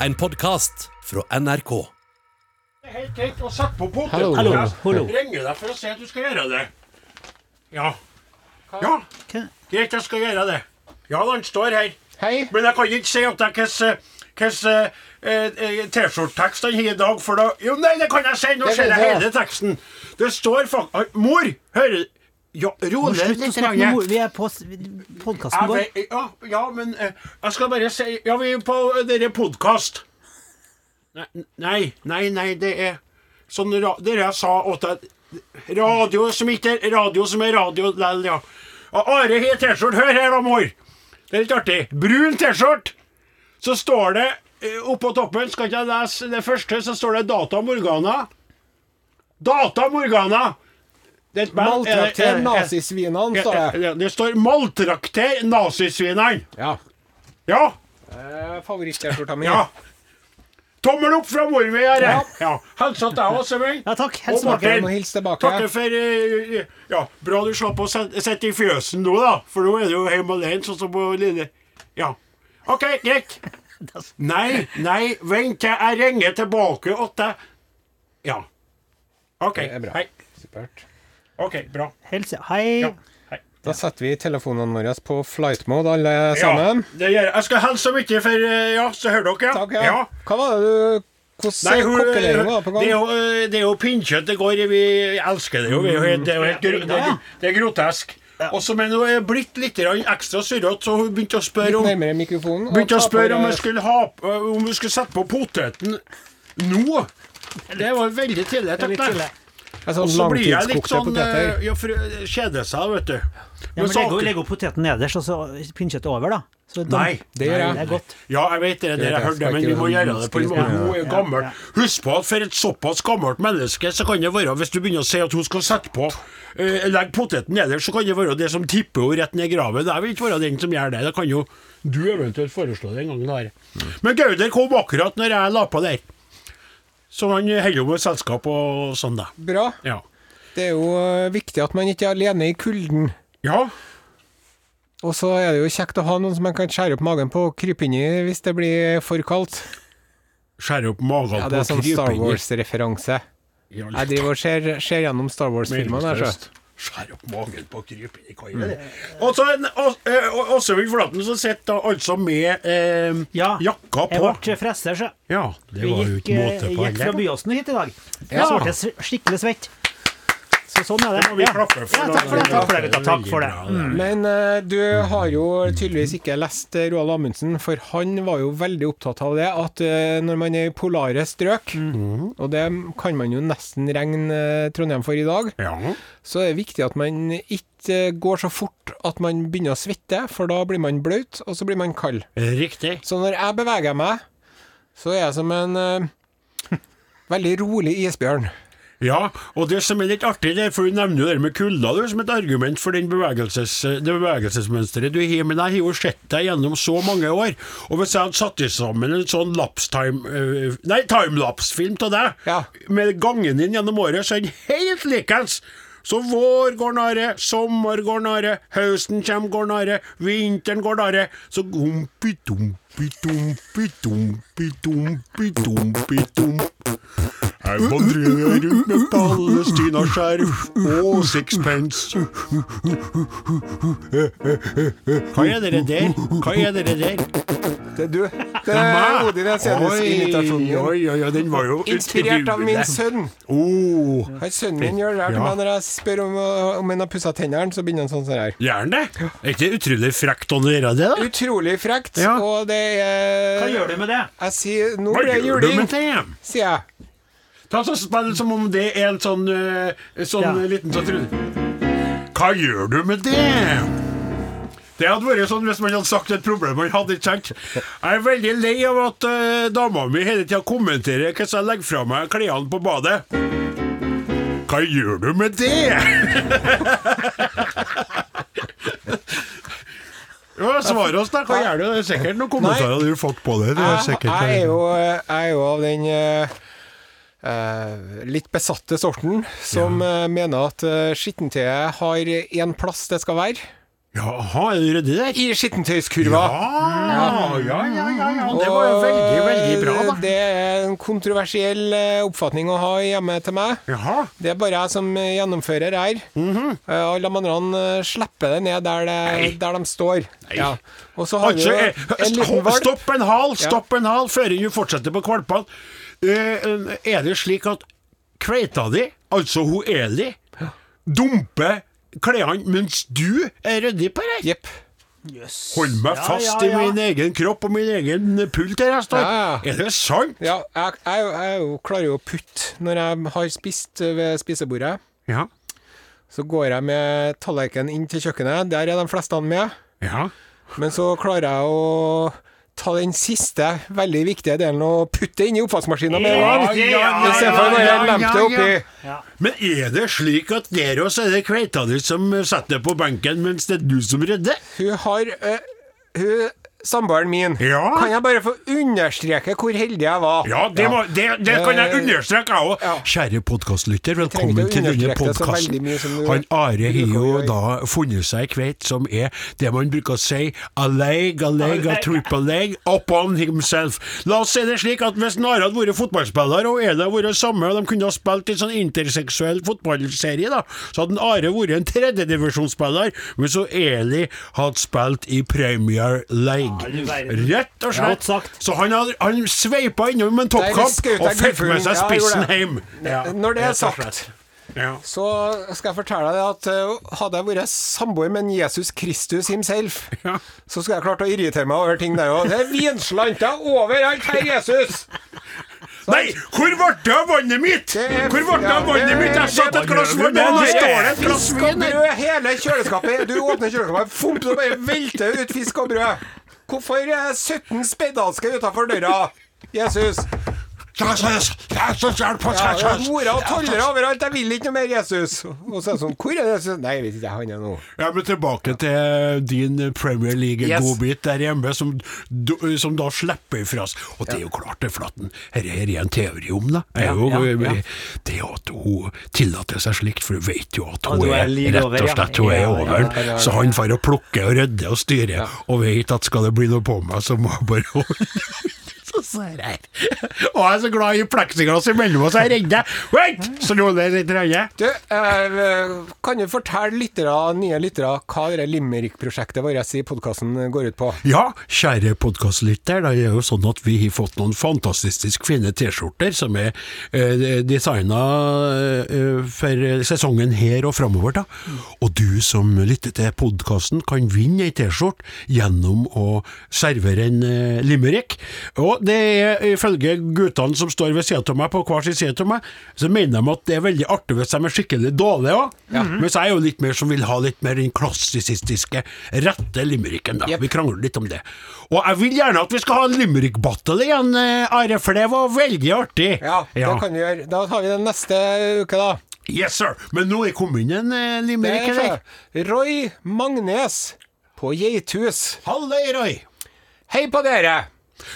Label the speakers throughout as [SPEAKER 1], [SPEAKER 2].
[SPEAKER 1] En podkast fra NRK.
[SPEAKER 2] Det er helt greit å sette på potet.
[SPEAKER 3] Hallo.
[SPEAKER 2] Hallo.
[SPEAKER 3] Hallo.
[SPEAKER 2] Jeg ringer deg for å si at du skal gjøre det. Ja. Ja,
[SPEAKER 3] Hva-
[SPEAKER 2] greit, jeg skal gjøre det. Ja, han står her.
[SPEAKER 3] Hei.
[SPEAKER 2] Men jeg kan ikke si at jeg hvilken eh, T-skjortetekst han har i dag, for da Jo, nei, det kan jeg si! Nå
[SPEAKER 3] Det
[SPEAKER 2] ser
[SPEAKER 3] vet
[SPEAKER 2] jeg
[SPEAKER 3] jeg.
[SPEAKER 2] hele teksten. Det står faktisk Mor! Hører ja, Ro ned
[SPEAKER 3] Slutt
[SPEAKER 2] litt,
[SPEAKER 3] å snakke med
[SPEAKER 2] Stange.
[SPEAKER 3] mor. Vi er på podkasten vår.
[SPEAKER 2] Jeg vet- Ja, ja, men eh, jeg skal bare si Ja, vi er på eh, dere podkast. Nei, nei, nei, det er sånn ra Dere jeg sa at jeg- Radio som ikke er radio, som er radio lell, ja. Ja, Are har T-skjorte. Hør her, da, mor. Det er litt artig. Brun T-skjorte. Så står det eh, oppå toppen, skal ikke jeg lese det første, så står det Data Morgana. Data Morgana! Det er et band. Er det-
[SPEAKER 3] Maltrakter
[SPEAKER 2] er- er-
[SPEAKER 3] nazisvinene, står
[SPEAKER 2] ja,
[SPEAKER 3] det.
[SPEAKER 2] ja, Det står 'maltrakter nazisvineren'.
[SPEAKER 3] Ja.
[SPEAKER 2] Ja.
[SPEAKER 3] Favoritt-T-skjorta mi.
[SPEAKER 2] ja. Tommel opp fra mor mi, Are. Ja.
[SPEAKER 3] Ja.
[SPEAKER 2] Hils at deg òg, Svein.
[SPEAKER 3] Ja takk.
[SPEAKER 2] Og
[SPEAKER 3] Hils tilbake.
[SPEAKER 2] Martin.
[SPEAKER 3] Og hils tilbake.
[SPEAKER 2] Takker for eh, Ja, bra du slapp å set- sitte i fjøsen nå, da. For nå er du jo hjemme alene, sånn som på lille Ja. OK, greit. Nei, nei, vent til jeg ringer tilbake åt deg. Ja. OK.
[SPEAKER 4] Det er bra.
[SPEAKER 2] Hei.
[SPEAKER 4] Supert.
[SPEAKER 2] OK, bra.
[SPEAKER 3] Hils, hei.
[SPEAKER 2] Ja. Hei.
[SPEAKER 4] Da setter vi telefonene våre på flight mode, alle
[SPEAKER 2] Ja,
[SPEAKER 4] sammen.
[SPEAKER 2] det gjør jeg. Jeg skal hilse mye for eh, Ja, så hører dere.
[SPEAKER 4] Takk, ja. Hva var det du
[SPEAKER 2] Nei,
[SPEAKER 4] Hvordan
[SPEAKER 2] hun,
[SPEAKER 4] kokkelering var på
[SPEAKER 2] det, er
[SPEAKER 4] gang?
[SPEAKER 2] jo, eh, det er jo pinnkjøtt det går i. Vi elsker det jo. Vi er jo helt, det, er jo helt,
[SPEAKER 3] Mm,
[SPEAKER 2] gro- det, er- det er grotesk. Og så men hun er blitt litt grann ekstra surrete, så hun begynte å spørre om
[SPEAKER 4] Nærmere mikrofonen. og
[SPEAKER 2] Begynte å
[SPEAKER 4] ta på
[SPEAKER 2] spørre om
[SPEAKER 4] det-
[SPEAKER 2] jeg skulle, ha, om jeg skulle sette på poteten nå. Det var veldig tidlig.
[SPEAKER 3] Litt
[SPEAKER 2] Takk,
[SPEAKER 3] til.
[SPEAKER 2] det.
[SPEAKER 4] En sånn
[SPEAKER 2] Og så blir jeg litt
[SPEAKER 4] langtidskokte
[SPEAKER 2] sånn
[SPEAKER 4] poteter.
[SPEAKER 2] eh, Ja, for eh, kjede seg, vet du.
[SPEAKER 3] Ja, men
[SPEAKER 2] så-
[SPEAKER 3] legg, legg opp poteten nederst, og så pinnkjøttet over, da. Så damp-
[SPEAKER 2] Nei,
[SPEAKER 4] det gjør jeg.
[SPEAKER 3] Det er godt.
[SPEAKER 2] Ja, jeg vet det, det jeg hørte det, men vi må gjøre det på en måte. Hun er gammel. Husk på at for et såpass gammelt menneske, så kan det være, hvis du begynner å si at hun skal sette på eh, Legg poteten nederst, så kan det være det som tipper henne rett ned i graven. Jeg vil ikke være den som gjør det. Det kan jo du eventuelt foreslå det en gang. Are. Men Gauder kom akkurat når jeg la på der. Så han holder jo med selskap og sånn, da.
[SPEAKER 4] Bra.
[SPEAKER 2] Ja.
[SPEAKER 4] Det er jo eh, viktig at man ikke er alene i kulden.
[SPEAKER 2] ja.
[SPEAKER 4] Og så er det jo kjekt å ha noen som man kan skjære opp magen på og krype inn i hvis det blir for kaldt.
[SPEAKER 2] Skjære opp magen
[SPEAKER 4] Ja,
[SPEAKER 2] på
[SPEAKER 4] det er sånn Star Wars-referanse.
[SPEAKER 2] Ja,
[SPEAKER 4] Jeg driver og ser, ser gjennom Star Wars-filmene. her, så.
[SPEAKER 2] Skjær opp magen på kryp i kaia. Og så en Ås- eh, Å- Åshild Flaten som sitter da altså med eh,
[SPEAKER 3] Ja,
[SPEAKER 2] jakka
[SPEAKER 3] Jeg
[SPEAKER 2] på.
[SPEAKER 3] ble frester, så.
[SPEAKER 2] Ja, det
[SPEAKER 3] Vi
[SPEAKER 2] var jo
[SPEAKER 3] gikk,
[SPEAKER 2] ikke måte
[SPEAKER 3] eh,
[SPEAKER 2] på
[SPEAKER 3] gikk fra
[SPEAKER 2] heller.
[SPEAKER 3] Byåsen og hit i dag.
[SPEAKER 4] Ja.
[SPEAKER 3] Så ble jeg s- skikkelig svett. Så sånn er
[SPEAKER 2] Det
[SPEAKER 3] det.
[SPEAKER 2] må vi
[SPEAKER 3] Ja.
[SPEAKER 2] klappe for,
[SPEAKER 3] Ja,
[SPEAKER 2] da.
[SPEAKER 3] takk for det, takk for det, gutta. Takk
[SPEAKER 2] Veldig
[SPEAKER 3] for det.
[SPEAKER 2] bra,
[SPEAKER 3] Mm.
[SPEAKER 4] Men eh, du har jo tydeligvis ikke lest eh, Roald Amundsen, for han var jo veldig opptatt av det at eh, når man er i polare strøk, og det kan man jo nesten regne eh, Trondheim for i dag,
[SPEAKER 2] Ja.
[SPEAKER 4] så er det viktig at man ikke eh, går så fort at man begynner å svette, for da blir man blaut, og så blir man kald.
[SPEAKER 2] Riktig.
[SPEAKER 4] Så når jeg beveger meg, så er jeg som en eh, veldig rolig isbjørn.
[SPEAKER 2] Ja, og det som er litt artig, det er for du nevner jo det med kulda du, som et argument for den bevegelses, det bevegelsesmønsteret du har. Men jeg har jo sett deg gjennom så mange år, og hvis jeg hadde satt i sammen en sånn lapstime eh, Nei, timelapse-film av deg,
[SPEAKER 4] Ja.
[SPEAKER 2] med gangen din gjennom året, så er den helt likens! Så vår går nare, sommer går nare, høsten kjem går nare, vinteren går nare. Så gompi-dompi-dompi-dompi-dompi-dompi-dompi. Her vandrer jeg rundt med palestinaskjerf og sixpence. Hva er dere der? Hva er dere der?
[SPEAKER 4] Det, du, det er
[SPEAKER 2] Hva?
[SPEAKER 4] Odin Jensenius-imitasjonen
[SPEAKER 2] Oi,
[SPEAKER 4] min.
[SPEAKER 2] oi, oi, den var jo
[SPEAKER 4] Inspirert av min sønn.
[SPEAKER 2] Oh,
[SPEAKER 4] Han sønnen min gjør det her til
[SPEAKER 2] Ja.
[SPEAKER 4] meg når jeg spør om, om han har pussa tennene, så begynner han sånn sånn her.
[SPEAKER 2] gjør den det? Er ikke det utrolig frekt å gjøre det, da?
[SPEAKER 4] Utrolig frekt,
[SPEAKER 2] Ja.
[SPEAKER 4] og det er
[SPEAKER 3] Hva gjør du med det?
[SPEAKER 4] Jeg sier Nå
[SPEAKER 2] Hva
[SPEAKER 4] blir det
[SPEAKER 2] gjør du
[SPEAKER 4] juling,
[SPEAKER 2] med det?
[SPEAKER 4] sier jeg.
[SPEAKER 2] Ta så Spill som om det er en sånn, øh, sånn
[SPEAKER 3] Ja.
[SPEAKER 2] øh, liten sånn trude. Hva gjør du med det? Det hadde vært sånn hvis man hadde sagt et problem man hadde ikke sant. Jeg er veldig lei av at øh, dama mi hele tida kommenterer hvordan jeg legger fra meg klærne på badet. Hva gjør du med det? Ja, Svar oss, da. Hva gjør du? Det er sikkert noen kommentarer du har fått på det. det er
[SPEAKER 4] Jeg,
[SPEAKER 2] sikkert, eh,
[SPEAKER 4] jeg, er, jo, jeg er jo av den eh, eh, litt besatte sorten som eh, mener at uh, skittentøyet har én plass det skal være.
[SPEAKER 2] Ja, aha, er du ryddig der?
[SPEAKER 4] I skittentøyskurva.
[SPEAKER 2] Ah, Ja, ja, ja, ja, ja. Det var jo veldig, veldig veldig bra, da.
[SPEAKER 4] det er en kontroversiell eh, oppfatning å ha hjemme til meg.
[SPEAKER 2] Jaha.
[SPEAKER 4] Det er bare jeg som eh, gjennomfører her. Eh, Alle de andre eh, slipper det ned der, det, der de står. Ja. Og så har vi
[SPEAKER 2] Altså,
[SPEAKER 4] jo
[SPEAKER 2] eh,
[SPEAKER 4] en liten
[SPEAKER 2] stopp-
[SPEAKER 4] valp.
[SPEAKER 2] stopp en hal, stopp en hal, før du fortsetter på kvalpene. Eh, eh, er det slik at kveita di, altså hun Eli, dumper klærne mens du er ryddig på det?
[SPEAKER 4] Jepp.
[SPEAKER 2] Hold meg
[SPEAKER 3] Ja,
[SPEAKER 2] fast
[SPEAKER 3] ja,
[SPEAKER 2] i
[SPEAKER 3] ja.
[SPEAKER 2] min egen kropp og min egen pult her jeg står.
[SPEAKER 4] Ja, ja.
[SPEAKER 2] Er det sant?
[SPEAKER 4] Ja, jeg, jeg, er jo- jeg er jo- klarer jo å putte når jeg har spist eh, ved spisebordet.
[SPEAKER 2] Ja.
[SPEAKER 4] Så går jeg med tallerkenen inn til kjøkkenet. Der er de fleste med.
[SPEAKER 2] Ja.
[SPEAKER 4] Men så klarer jeg å ta den siste veldig viktige delen og putte det inn i oppvaskmaskinen med en
[SPEAKER 2] Ja,
[SPEAKER 4] gang.
[SPEAKER 2] ja, ja,
[SPEAKER 4] Istedenfor
[SPEAKER 2] ja,
[SPEAKER 4] når
[SPEAKER 2] ja,
[SPEAKER 4] jeg lemper det
[SPEAKER 2] ja,
[SPEAKER 4] oppi.
[SPEAKER 2] ja. Men er det slik at der også er det kveita di som setter deg på benken, mens det er du som rydder?
[SPEAKER 4] Hun har øh, Hun Samboeren min.
[SPEAKER 2] Ja.
[SPEAKER 4] Kan jeg bare få understreke hvor heldig jeg var?
[SPEAKER 2] Ja, det, Må, det, det kan jeg
[SPEAKER 4] Eh,
[SPEAKER 2] understreke, jeg òg.
[SPEAKER 4] ja.
[SPEAKER 2] Kjære podkastlytter, velkommen
[SPEAKER 4] ikke å
[SPEAKER 2] til denne
[SPEAKER 4] understreke det så veldig
[SPEAKER 2] podkasten.
[SPEAKER 4] mye som du-
[SPEAKER 2] Han Are har
[SPEAKER 4] bruker å
[SPEAKER 2] jo
[SPEAKER 4] gjøre.
[SPEAKER 2] da funnet seg ei kveit som er det man bruker å si a leg, a leg, a triple leg, upon himself. La oss si det slik at hvis han Are hadde vært fotballspiller, og Eli hadde vært samme, og de kunne ha spilt i en sånn interseksuell fotballserie, da, så hadde han Are vært en tredjedivisjonsspiller, men så Eli hadde spilt i Premier League.
[SPEAKER 3] du verden.
[SPEAKER 2] Rett og slett.
[SPEAKER 3] Godt sagt.
[SPEAKER 2] Så han, hadde, han sveipa innom en
[SPEAKER 4] Der
[SPEAKER 2] toppkamp
[SPEAKER 4] skjøt jeg
[SPEAKER 2] og fikk
[SPEAKER 4] gullfuglen.
[SPEAKER 2] med seg
[SPEAKER 4] Ja, jeg gjorde
[SPEAKER 2] spissen
[SPEAKER 4] det.
[SPEAKER 2] hjem. Ja,
[SPEAKER 4] Når det er
[SPEAKER 2] rett og
[SPEAKER 4] sagt.
[SPEAKER 2] slett. Ja.
[SPEAKER 4] Så skal jeg fortelle deg at øh, hadde jeg vært samboer med en Jesus Kristus himself,
[SPEAKER 2] Ja.
[SPEAKER 4] så skulle jeg klart å irritere meg over ting der òg. Det er vinslanter overalt, herr Jesus!
[SPEAKER 2] Nei, hvor ble det av vannet mitt?!
[SPEAKER 4] Det er-
[SPEAKER 2] Hvor ble det av
[SPEAKER 4] ja,
[SPEAKER 2] vannet
[SPEAKER 4] det-
[SPEAKER 2] mitt?! Jeg satt et glass vann, og
[SPEAKER 4] Bare
[SPEAKER 2] der står det et glass
[SPEAKER 4] Fisk og
[SPEAKER 2] vin! her.
[SPEAKER 4] brød hele kjøleskapet. Du åpner kjøleskapet, fomp, så bare velter det ut fisk og brød. Hvorfor er 17 spedalske utafor døra? Jesus.
[SPEAKER 2] Jesus, Jesus, hjelp oss,
[SPEAKER 4] Ja, det er
[SPEAKER 2] Jesus!
[SPEAKER 4] Mora og tollere overalt. Jeg vil ikke noe mer Jesus. Og så er det sånn Hvor er det Jesus? Nei, jeg vet ikke. Han er nå
[SPEAKER 2] Ja, men tilbake til din Premier League-godbit der hjemme, som, du- som da slipper ifra oss. Og det er jo klart det, Flatten. Dette er en teori om det. Det er jo
[SPEAKER 3] ja, ja.
[SPEAKER 2] det at hun tillater seg slikt, for hun vet jo at
[SPEAKER 3] At
[SPEAKER 2] hun
[SPEAKER 3] hun
[SPEAKER 2] er
[SPEAKER 3] er like
[SPEAKER 2] rett
[SPEAKER 3] over,
[SPEAKER 2] og
[SPEAKER 3] ja.
[SPEAKER 2] slett hun er
[SPEAKER 3] Ja, ja,
[SPEAKER 2] over
[SPEAKER 3] ja,
[SPEAKER 2] den. Så han får å plukke og rydde og styre, og vet at skal det bli noe på meg, så må jeg bare holde Så ser jeg her. Og jeg er så glad i pleksiglass imellom oss, jeg er redd deg. Vent! Så nå er det litt redd.
[SPEAKER 4] Du, eh, kan du fortelle lyttere, nye lyttere hva det Limerick-prosjektet vårt i podkasten går ut på?
[SPEAKER 2] Ja, kjære podkastlytter, det er jo sånn at vi har fått noen fantastisk fine T-skjorter som er eh, designa eh, for sesongen her og framover, da. Og du som lytter til podkasten kan vinne ei T-skjorte gjennom å servere en eh, limerick. Og det er ifølge guttene som står ved sida av meg, på hver sin side av meg, så mener de at det er veldig artig hvis de er skikkelig dårlige òg. Mens jeg er jo litt mer som vil ha litt mer den klassisistiske, rette limericken, da.
[SPEAKER 4] Jep.
[SPEAKER 2] Vi krangler litt om det. Og jeg vil gjerne at vi skal ha en limerick-battle igjen, eh, Are, for det var veldig artig.
[SPEAKER 4] Ja, det kan vi gjøre. Da tar vi den neste uke, da.
[SPEAKER 2] Yes, sir. Men nå er det kommet inn en eh,
[SPEAKER 4] Det
[SPEAKER 2] limerick
[SPEAKER 4] er
[SPEAKER 2] her.
[SPEAKER 4] fra Roy Magnes på Geithus.
[SPEAKER 2] Halløy, Roy.
[SPEAKER 4] Hei på dere!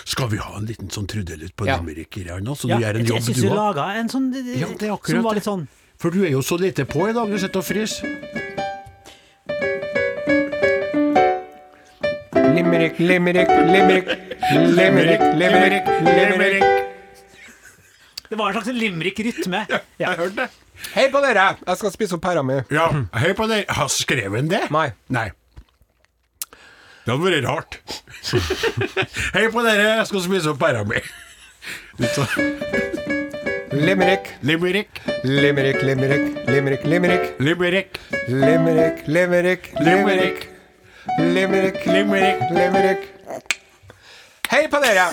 [SPEAKER 2] Skal vi ha en liten sånn trudelutt på
[SPEAKER 4] Ja.
[SPEAKER 2] limerick her nå, så
[SPEAKER 3] Ja,
[SPEAKER 2] du gjør en
[SPEAKER 3] jeg jeg
[SPEAKER 2] jobb,
[SPEAKER 3] syns
[SPEAKER 2] du
[SPEAKER 3] du
[SPEAKER 2] òg?
[SPEAKER 3] laga en sånn
[SPEAKER 2] Ja, det er akkurat
[SPEAKER 3] som var
[SPEAKER 2] det.
[SPEAKER 3] litt sånn
[SPEAKER 2] For du er jo så lite på i dag, du sitter og fryser.
[SPEAKER 4] Limerick, limerick, limerick. Limerick, limerick, limerick.
[SPEAKER 3] Det var en slags limerick-rytme. Ja.
[SPEAKER 2] Jeg hørte det.
[SPEAKER 4] Hei på dere! Jeg skal spise opp pæra mi.
[SPEAKER 2] Ja, hør på det. Har skrevet han det?
[SPEAKER 4] Nei.
[SPEAKER 2] Nei. Det hadde vært rart. Hei på dere, jeg skal spise opp pæra mi. Litt sånn
[SPEAKER 4] Limerick,
[SPEAKER 2] Limerick,
[SPEAKER 4] limerick, limerick, limerick, limerick.
[SPEAKER 2] limerick,
[SPEAKER 4] Limerick, limerick,
[SPEAKER 2] limerick,
[SPEAKER 4] Limerick,
[SPEAKER 2] limerick.
[SPEAKER 4] limerick. Hei på dere!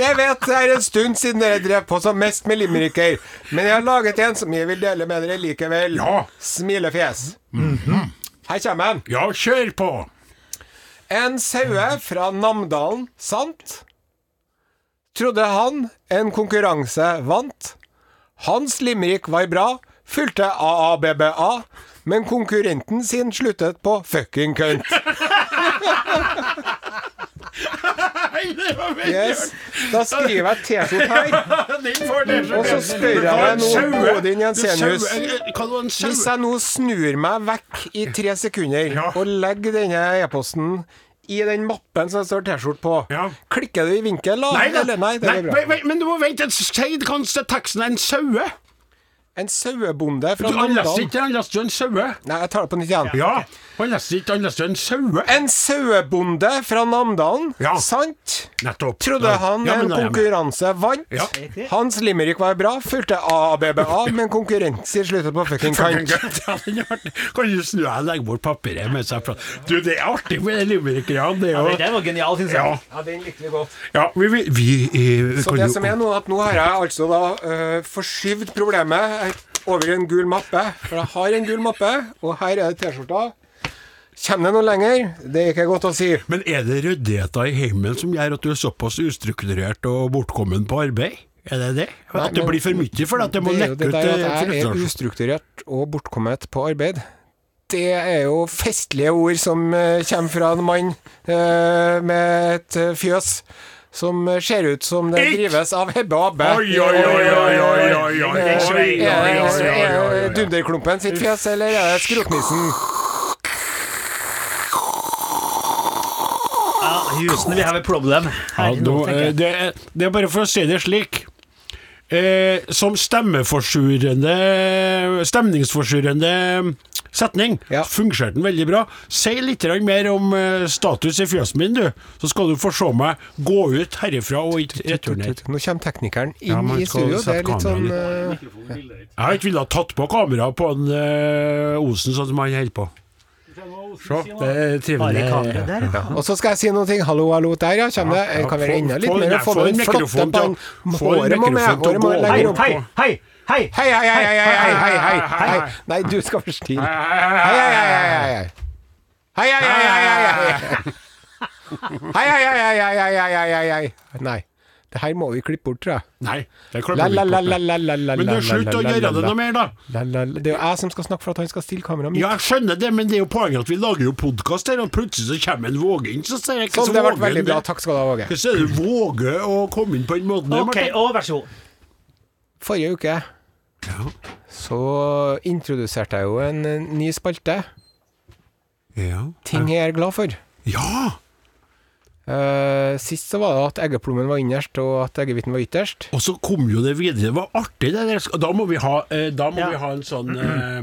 [SPEAKER 4] Jeg vet det er en stund siden dere drev på som mest med limericker, men jeg har laget en som jeg vil dele med dere likevel.
[SPEAKER 2] Ja.
[SPEAKER 4] Smilefjes. Her kommer den.
[SPEAKER 2] Ja, kjør på!
[SPEAKER 4] En saue fra Namdalen sant? Trodde han en konkurranse vant. Hans limerick var bra, fulgte AABBA, men konkurrenten sin sluttet på fucking kønt. Yes. Da skriver jeg T-skjorte her. Og så spør jeg deg nå, Odin Jensenius.
[SPEAKER 2] Hva var en
[SPEAKER 4] Hvis
[SPEAKER 2] sau?
[SPEAKER 4] jeg nå snur meg vekk i tre sekunder
[SPEAKER 2] Ja.
[SPEAKER 4] og legger denne e-posten i den mappen som det står T-skjorte på.
[SPEAKER 2] Ja.
[SPEAKER 4] Klikker du i vinkel, da?
[SPEAKER 2] Nei da!
[SPEAKER 4] Eller, nei, det
[SPEAKER 2] Nei,
[SPEAKER 4] går bra.
[SPEAKER 2] vei- vei, men du må vente, sier kanskje teksten en saue?
[SPEAKER 4] En sauebonde fra
[SPEAKER 2] Du, Han leste
[SPEAKER 4] Namdalen.
[SPEAKER 2] ikke, han leste jo en saue.
[SPEAKER 4] Nei, jeg tar det på nytt igjen.
[SPEAKER 2] Ja, han leste ikke, han leste jo en saue.
[SPEAKER 4] En sauebonde fra Namdalen,
[SPEAKER 2] Ja.
[SPEAKER 4] sant?
[SPEAKER 2] Nettopp.
[SPEAKER 4] Trodde han
[SPEAKER 2] Ja, men
[SPEAKER 4] en
[SPEAKER 2] da er jeg med.
[SPEAKER 4] konkurranse vant.
[SPEAKER 2] Ja.
[SPEAKER 3] Riktig.
[SPEAKER 4] Hans limerick var bra, fulgte ABBA, men konkurranser sluttet på fucking kant.
[SPEAKER 2] Ja, den er artig. Kan du snu deg og legge bort papiret mens jeg prater? Du, det er artig med limerickerne. Det er jo
[SPEAKER 3] var genial, syns
[SPEAKER 2] Ja.
[SPEAKER 4] Ja, den likte vi godt.
[SPEAKER 2] ja, vi, vi, vi eh,
[SPEAKER 4] Så
[SPEAKER 2] kan
[SPEAKER 4] det
[SPEAKER 2] jo-
[SPEAKER 4] som er nå, at nå har jeg altså da øh, forskyvd problemet over i en gul mappe. For jeg har en gul mappe, og her er det T-skjorta. Kommer det noe lenger? Det er ikke godt å si.
[SPEAKER 2] Men er det ryddigheta i heimen som gjør at du er såpass ustrukturert og bortkommen på arbeid? Er det det? At det
[SPEAKER 4] men-
[SPEAKER 2] blir for mye for deg at det må
[SPEAKER 4] Det er jo
[SPEAKER 2] lekke
[SPEAKER 4] det
[SPEAKER 2] ut
[SPEAKER 4] der
[SPEAKER 2] eh,
[SPEAKER 4] at jeg er
[SPEAKER 2] frustrasjon?
[SPEAKER 4] ustrukturert og bortkommet på arbeid. Det er jo festlige ord som eh, kommer fra en mann eh, med et eh, fjøs som eh, ser ut som det
[SPEAKER 2] Ikk!
[SPEAKER 4] drives av Hebbe og Abbe.
[SPEAKER 2] Oi, oi, oi, oi, oi, oi, oi, oi,
[SPEAKER 4] Eh,
[SPEAKER 2] oi, oi, oi, oi,
[SPEAKER 4] Er
[SPEAKER 2] oi, oi, oi, oi.
[SPEAKER 4] er Dunderklumpen sitt fjes, eller er det Skrotnissen?
[SPEAKER 3] Ja, Houston, we have a problem.
[SPEAKER 2] Ja,
[SPEAKER 3] Her,
[SPEAKER 2] nå,
[SPEAKER 3] nå, tenker
[SPEAKER 2] eh,
[SPEAKER 3] jeg.
[SPEAKER 2] det, er- det er bare for å si det slik. Eh, som stemmeforsurende Stemningsforsurende setning.
[SPEAKER 4] Ja.
[SPEAKER 2] Fungerte den veldig bra. Si litt grann mer om eh, status i fjøsen min, du. Så skal du få se meg gå ut herifra og ikke returnere.
[SPEAKER 4] Nå kommer teknikeren
[SPEAKER 2] Ja,
[SPEAKER 4] inn
[SPEAKER 2] man
[SPEAKER 4] i
[SPEAKER 2] skal
[SPEAKER 4] studio. Det
[SPEAKER 2] sette
[SPEAKER 4] er litt sånn
[SPEAKER 2] kameraet
[SPEAKER 4] eh,
[SPEAKER 2] Jeg har ikke villet ha tatt på kameraet på en, eh, Osen, sånn som han holder på. Se, det er
[SPEAKER 3] Bare
[SPEAKER 2] trivelig.
[SPEAKER 3] kamera der, ja.
[SPEAKER 4] eh, Og så skal jeg si noen ting. Hallo, hallo, der ja, kommer det. Jeg kan være enda litt mer og få
[SPEAKER 2] Få en
[SPEAKER 4] den flotte
[SPEAKER 2] mikrofon til å-
[SPEAKER 4] ballen.
[SPEAKER 2] få en
[SPEAKER 4] Håret må med.
[SPEAKER 2] mikrofon til å
[SPEAKER 4] Håret må
[SPEAKER 2] gå
[SPEAKER 4] lenger
[SPEAKER 2] opp.
[SPEAKER 4] opp.
[SPEAKER 3] Hei, hei, hei!
[SPEAKER 4] Hei, hei, hei, hei, hei, hei, hei, hei,
[SPEAKER 2] hei,
[SPEAKER 4] hei.
[SPEAKER 2] hei.
[SPEAKER 4] Nei, du skal være snill. Hei,
[SPEAKER 2] Hei, hei,
[SPEAKER 4] hei,
[SPEAKER 2] hei,
[SPEAKER 4] hei, hei, hei, hei. Hei, hei, hei, hei, hei, hei. Hei, hei, hei, hei, hei, hei, hei, hei, hei, hei. Nei, det her må vi klippe bort, tror jeg.
[SPEAKER 2] Nei, det klipper
[SPEAKER 4] La,
[SPEAKER 2] vi
[SPEAKER 4] la, la,
[SPEAKER 2] bort.
[SPEAKER 4] la, la, la, la,
[SPEAKER 2] Men det er
[SPEAKER 4] la,
[SPEAKER 2] slutt
[SPEAKER 4] la,
[SPEAKER 2] å
[SPEAKER 4] la,
[SPEAKER 2] gjøre
[SPEAKER 4] la,
[SPEAKER 2] det noe mer, da.
[SPEAKER 4] la, la, la. Det er jo jeg som skal snakke for at han skal stille kameraet mitt.
[SPEAKER 2] Ja, jeg skjønner det, men det er jo poenget at vi lager jo podkast her, og plutselig så kommer en Våge inn, så sier jeg ikke
[SPEAKER 4] Sånn,
[SPEAKER 2] så
[SPEAKER 4] det ble
[SPEAKER 2] Vågen
[SPEAKER 4] veldig bra.
[SPEAKER 2] det.
[SPEAKER 4] Takk skal du ha, Åge.
[SPEAKER 2] Hvordan er det du våger å komme inn på den måten der,
[SPEAKER 3] Ok,
[SPEAKER 2] Martin?
[SPEAKER 3] og vær så god.
[SPEAKER 4] Forrige uke så introduserte jeg jo en eh, ny spalte.
[SPEAKER 2] Ja.
[SPEAKER 4] Ting jeg er glad for.
[SPEAKER 2] ja!
[SPEAKER 4] Eh, sist så var det at eggeplommen var innerst, og at eggehviten var ytterst.
[SPEAKER 2] Og så kom jo det videre. Det var artig, det der. Da må vi ha, eh, da må
[SPEAKER 3] Ja.
[SPEAKER 2] vi ha en sånn eh,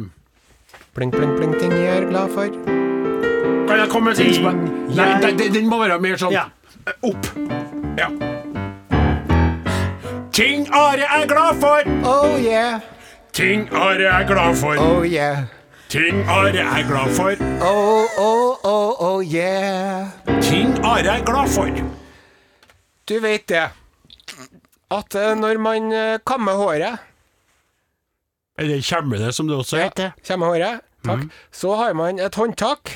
[SPEAKER 4] Pling, pling, pling, ting jeg er glad for.
[SPEAKER 2] Kan jeg komme med et innspill? Nei, nei, den- den må være mer sånn
[SPEAKER 3] Ja.
[SPEAKER 2] eh, opp. Ja. Ting Are er glad for!
[SPEAKER 4] Oh yeah,
[SPEAKER 2] Ting Are er glad for!
[SPEAKER 4] oh yeah.
[SPEAKER 2] Ting Are er glad for!
[SPEAKER 4] Oh, oh, oh, oh yeah.
[SPEAKER 2] Ting Are er glad for!
[SPEAKER 4] Du vet det, at eh, når man eh, kammer håret
[SPEAKER 2] Eller kommer det, som det Mm. også heter?
[SPEAKER 4] Kammer håret, takk. Så har man et håndtak,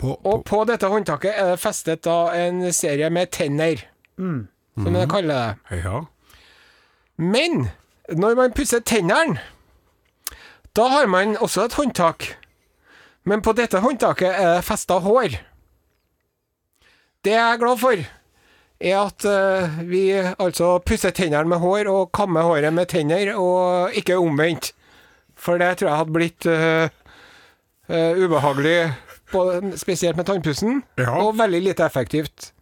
[SPEAKER 2] På,
[SPEAKER 4] og på dette håndtaket er det festet da en serie med tenner. Som jeg kaller det.
[SPEAKER 2] ja.
[SPEAKER 4] Men når man pusser tennene, da har man også et håndtak. Men på dette håndtaket er det festa hår. Det jeg er glad for, er at eh, vi altså pusser tennene med hår og kammer håret med tenner, og ikke omvendt. For det tror jeg hadde blitt eh, eh, ubehagelig, på- spesielt med tannpussen,
[SPEAKER 2] Ja.
[SPEAKER 4] og veldig lite effektivt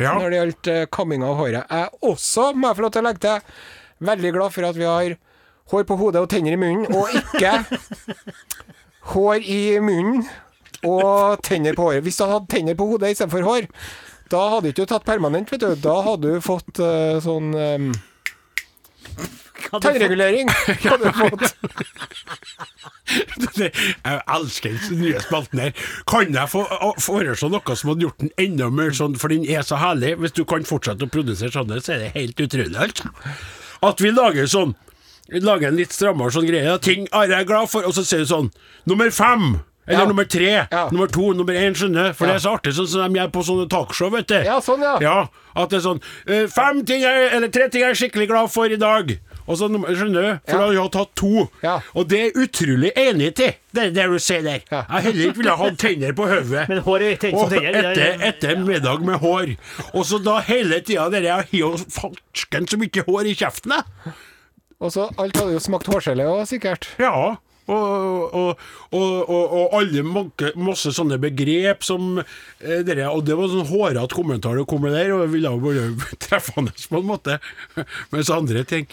[SPEAKER 4] når det gjaldt eh, kamming av håret. Jeg er også, må jeg få lov til å legge til, veldig glad for at vi har hår på hodet og tenner i munnen, og ikke hår i munnen og tenner på håret. Hvis du hadde hatt tenner på hodet istedenfor hår, da hadde du ikke tatt permanent, vet du. Da hadde du fått eh, sånn um,
[SPEAKER 3] Kan du få-
[SPEAKER 4] tannregulering. Hadde du fått.
[SPEAKER 2] Det- Jeg elsker den nye spalten her. Kan jeg få å- foreslå noe som hadde gjort den enda mer sånn, for den er så herlig? Hvis du kan fortsette å produsere sånne, så er det helt utrolig, altså. At vi lager sånn Vi lager en litt strammere sånn greie. ja, Ting Are er glad for, og så sier du sånn Nummer fem! Eller
[SPEAKER 4] Ja.
[SPEAKER 2] nummer tre,
[SPEAKER 4] Ja.
[SPEAKER 2] nummer to, nummer én, skjønner For
[SPEAKER 4] Ja.
[SPEAKER 2] det er så artig, sånn som de gjør på sånne talkshow, vet du.
[SPEAKER 4] Ja, sånn, ja.
[SPEAKER 2] Ja, at det er sånn eh, Fem ting jeg, eller tre ting jeg er skikkelig glad for i dag. Og så, skjønner du? For da
[SPEAKER 4] Ja.
[SPEAKER 2] har jeg tatt to.
[SPEAKER 4] Ja.
[SPEAKER 2] Og det er utrolig enig til, det, det du sier der.
[SPEAKER 4] Ja.
[SPEAKER 2] Jeg heller ikke ville hatt tenner på hodet.
[SPEAKER 3] Men håret er tenner som
[SPEAKER 2] Og
[SPEAKER 3] tenner, det er-
[SPEAKER 2] etter, etter middag med hår. Og så da hele tida der jeg har jo farsken så mye hår i kjeften, jeg.
[SPEAKER 4] Og så alt hadde jo smakt hårgelé òg, sikkert.
[SPEAKER 2] Ja. Og, og, og, og, og alle manke, masse sånne begrep som eh, dere, Og det var sånn hårete kommentar det kom med der, og jeg ville jo bare treffende på en måte. Mens andre ting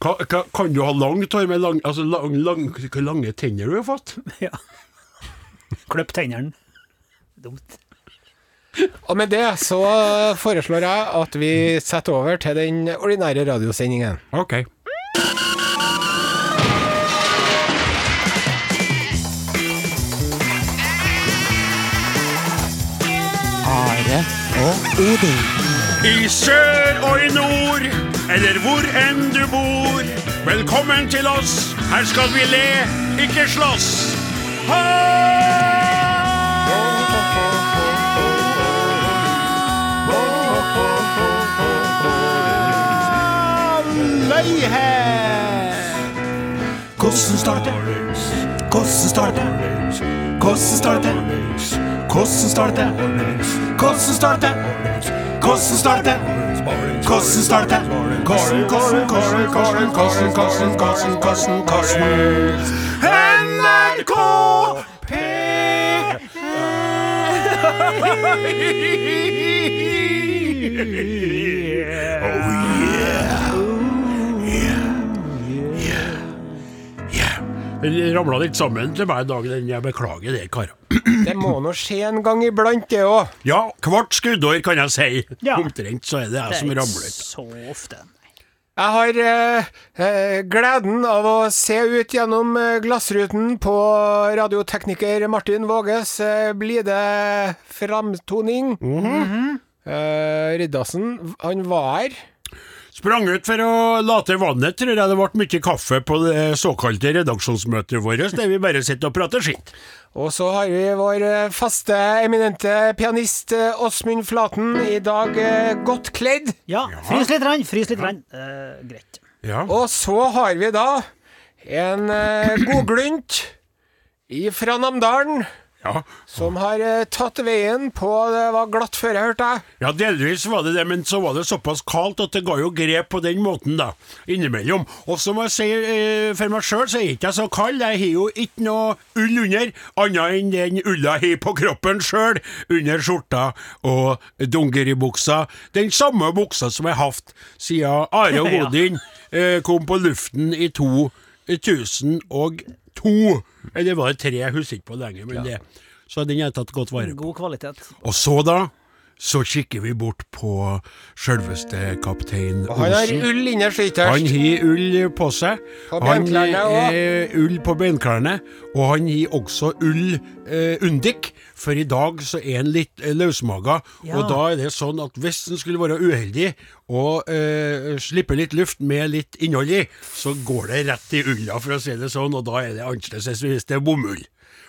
[SPEAKER 2] Ka, ka, kan du ha langt hår med lang, altså lang, lang, hvor lange tenner du har fått?
[SPEAKER 3] Ja. Klipp tennene. Dumt.
[SPEAKER 4] Og med det så foreslår jeg at vi setter over til den ordinære radiosendingen.
[SPEAKER 2] Ok.
[SPEAKER 5] Are og Odin.
[SPEAKER 2] I sør og i nord, eller hvor enn du bor. Velkommen til oss, her skal vi le, ikke slåss.
[SPEAKER 6] Hvordan starter? Hvordan starter? Hvordan starter? Hvordan starter? Hvordan starter? Hvordan starter? Hvordan starter? Hvordan, hvordan, hvordan, hvordan, hvordan, hvordan, hvordan, hvordan, hvordan NRK
[SPEAKER 2] Den ramla litt sammen til meg i dag, den jeg beklager det, karer.
[SPEAKER 4] Det må nå skje en gang iblant, det òg.
[SPEAKER 2] Ja, hvert skuddår kan jeg si.
[SPEAKER 3] Ja.
[SPEAKER 2] Omtrent så er det jeg som ramler ut.
[SPEAKER 3] så ofte.
[SPEAKER 4] Jeg har eh, eh, gleden av å se ut gjennom eh, glassruten på radiotekniker Martin Våges eh, blide framtoning. eh, Riddarsen, han var her.
[SPEAKER 2] Sprang ut for å late vannet, tror jeg det ble mye kaffe på det såkalte redaksjonsmøtet vårt, der vi bare sitter og prater skitt.
[SPEAKER 4] Og så har vi vår eh, faste, eminente pianist eh, Åsmund Flaten, i dag eh, godt kledd.
[SPEAKER 3] Ja, frys litt, rann, frys litt. Rann. Eh, greit.
[SPEAKER 2] Ja.
[SPEAKER 4] Og så har vi da en eh, godglunt fra Namdalen
[SPEAKER 2] ja.
[SPEAKER 4] som har eh, tatt veien på Det var glatt før jeg hørte deg.
[SPEAKER 2] Ja, delvis var det det, men så var det såpass kaldt at det ga jo grep på den måten, da. Innimellom. Og så må jeg si, eh, for meg sjøl, så er ikke jeg så kald. Jeg har jo ikke noe ull under, annet enn den ulla jeg har på kroppen sjøl, under skjorta og dongeribuksa. Den samme buksa som jeg har hatt siden Are og
[SPEAKER 3] Ja.
[SPEAKER 2] Odin eh, kom på luften i eh, 2002. Eller var det tre, jeg husker ikke på lenger, men det. Så den har jeg tatt godt vare på.
[SPEAKER 3] God kvalitet.
[SPEAKER 2] Og så da, så kikker vi bort på sjølveste kaptein
[SPEAKER 4] Han har
[SPEAKER 2] Olsen.
[SPEAKER 4] ull innerst
[SPEAKER 2] Han
[SPEAKER 4] ytterst.
[SPEAKER 2] har ull på seg.
[SPEAKER 4] På
[SPEAKER 2] Han
[SPEAKER 4] benklærne
[SPEAKER 2] eh, ull på benklærne. Og han har også ull eh, undik, for i dag så er han litt eh, løsmaga.
[SPEAKER 3] Ja.
[SPEAKER 2] Og da er det sånn at hvis han skulle være uheldig og eh, slippe litt luft med litt innhold i, så går det rett i ulla, for å si det sånn, og da er det annerledes hvis det er bomull.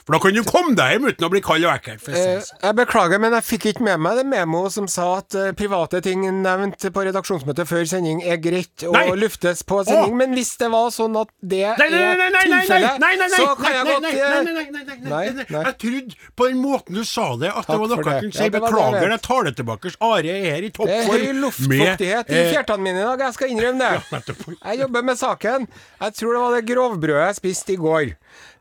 [SPEAKER 2] For da kan du komme deg hjem uten å bli kald og ekkel. for å si
[SPEAKER 4] Eh,
[SPEAKER 2] det sånn.
[SPEAKER 4] jeg beklager, men jeg fikk ikke med meg det memo som sa at eh, private ting nevnt på redaksjonsmøtet før sending er greit å
[SPEAKER 2] Nei!
[SPEAKER 4] luftes på sending.
[SPEAKER 2] Å!
[SPEAKER 4] Men hvis det var sånn at det er
[SPEAKER 2] Nei, nei, nei, nei, nei, nei,
[SPEAKER 4] tilfellet,
[SPEAKER 2] nei, nei, nei,
[SPEAKER 4] så kan jeg
[SPEAKER 2] nei,
[SPEAKER 4] godt
[SPEAKER 2] nei,
[SPEAKER 4] eh,
[SPEAKER 2] nei, nei, nei, nei, nei,
[SPEAKER 4] Nei,
[SPEAKER 2] nei,
[SPEAKER 4] nei.
[SPEAKER 2] Jeg trodde på den måten du sa det, at det
[SPEAKER 4] Takk
[SPEAKER 2] var
[SPEAKER 4] for
[SPEAKER 2] noe
[SPEAKER 4] det.
[SPEAKER 2] jeg kunne
[SPEAKER 4] Ja,
[SPEAKER 2] si.
[SPEAKER 4] det var det jeg
[SPEAKER 2] Beklager,
[SPEAKER 4] vet.
[SPEAKER 2] jeg tar det tilbake. Are er her i
[SPEAKER 4] Det er
[SPEAKER 2] toppform.
[SPEAKER 4] Eh, høy luftfuktighet i
[SPEAKER 2] med, eh,
[SPEAKER 4] fjertene mine i dag, jeg skal innrømme det. Jeg jobber med saken. Jeg tror det var det grovbrødet jeg spiste i går.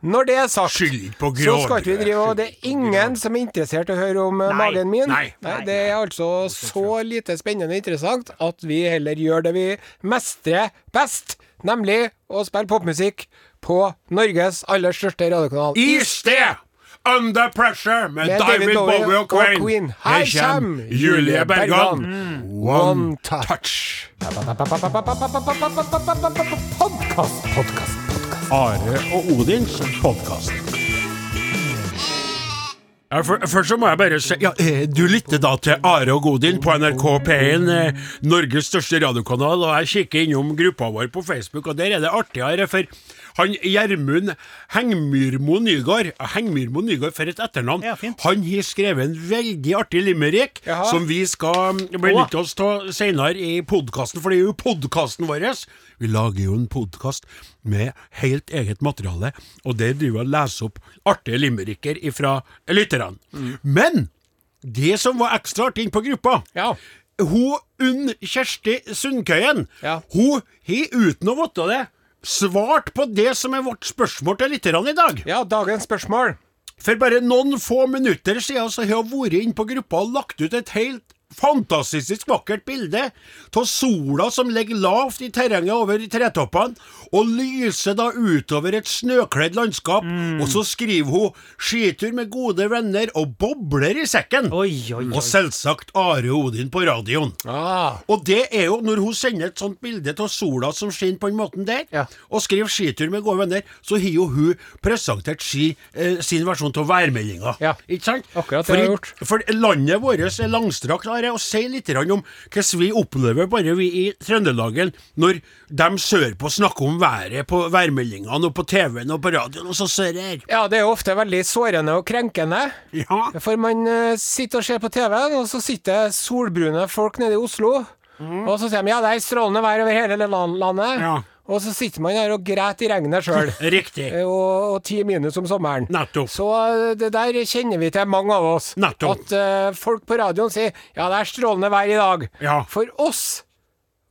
[SPEAKER 4] Når det er sagt,
[SPEAKER 2] Skyld ikke på
[SPEAKER 4] så skal ikke
[SPEAKER 2] grovbrød,
[SPEAKER 4] vi drive og
[SPEAKER 2] skyld
[SPEAKER 4] Det er ingen som er interessert i å høre om eh,
[SPEAKER 3] Nei,
[SPEAKER 4] magen min.
[SPEAKER 2] nei,
[SPEAKER 4] Det er altså så lite spennende og interessant at vi heller gjør det vi mestrer best, nemlig å spille popmusikk på Norges aller største radiokanal.
[SPEAKER 2] I sted! eh, Under pressure med, David, Bowie og Queen.
[SPEAKER 4] Her
[SPEAKER 2] Her kjem
[SPEAKER 4] kommer
[SPEAKER 2] Julie Bergan. Mm.
[SPEAKER 4] One touch. Podkast, podkast, podkast.
[SPEAKER 2] Are og Odins podkast. Ja, for, først så må jeg bare si ja, eh, Du lytter da til Are og Godin på NRK P1, eh, Norges største radiokanal, og jeg kikker innom gruppa vår på Facebook, og der er det artigere, for han Gjermund Hengmyrmo Nygård Hengmyrmo Nygård, for et etternavn.
[SPEAKER 3] Ja, fint.
[SPEAKER 2] han har skrevet en veldig artig limerick
[SPEAKER 4] Jaha.
[SPEAKER 2] som vi skal benytte oss av senere i podkasten, for det er jo podkasten vår. Vi lager jo en podkast med helt eget materiale, og der driver vi og leser opp artige limericker fra lytterne.
[SPEAKER 4] Mm.
[SPEAKER 2] Men det som var ekstra artig inne på gruppa
[SPEAKER 4] Ja.
[SPEAKER 2] Hun Unn Kjersti Sundkøyen,
[SPEAKER 4] Ja.
[SPEAKER 2] hun har uten å vite det svart på det som er vårt spørsmål til lytterne i dag.
[SPEAKER 4] Ja, dagens spørsmål.
[SPEAKER 2] For bare noen få minutter siden så har jeg vært inne på gruppa og lagt ut et helt fantastisk vakkert bilde av sola som ligger lavt i terrenget over tretoppene, og lyser da utover et snøkledd landskap. Og så skriver hun 'skitur med gode venner' og bobler i sekken.
[SPEAKER 3] Oi, oi, oi.
[SPEAKER 2] Og selvsagt Are Odin på radioen.
[SPEAKER 4] Ah.
[SPEAKER 2] Og det er jo når hun sender et sånt bilde av sola som skinner på den måten der,
[SPEAKER 4] Ja.
[SPEAKER 2] og skriver 'skitur med gode venner', så har jo hun presentert si, eh, sin versjon av værmeldinga.
[SPEAKER 4] Ja.
[SPEAKER 2] Ikke sant?
[SPEAKER 4] Akkurat det
[SPEAKER 2] for,
[SPEAKER 4] har
[SPEAKER 2] i-
[SPEAKER 4] jeg gjort.
[SPEAKER 2] For landet vårt er langstrakt, Are, og si litt grann om hvordan vi opplever bare vi i Trøndelagen når de sørpå snakker om været på værmeldingene og på TV-en og på radioen, og så ser jeg her.
[SPEAKER 4] Ja, det er jo ofte veldig sårende og krenkende.
[SPEAKER 2] Ja.
[SPEAKER 4] For man eh, sitter og ser på TV-en, og så sitter solbrune folk nede i Oslo. Og så sier de ja, det er strålende vær over hele lan- landet.
[SPEAKER 2] Mhm. Ja.
[SPEAKER 4] Og så sitter man her og græter i regnet sjøl.
[SPEAKER 2] Riktig.
[SPEAKER 4] Eh, Og, og ti minus om sommeren.
[SPEAKER 2] Nettopp.
[SPEAKER 4] Så eh, det der kjenner vi til, mange av oss.
[SPEAKER 2] Nettopp.
[SPEAKER 4] At eh, folk på radioen sier ja, det er strålende vær i dag.
[SPEAKER 2] Ja.
[SPEAKER 4] For oss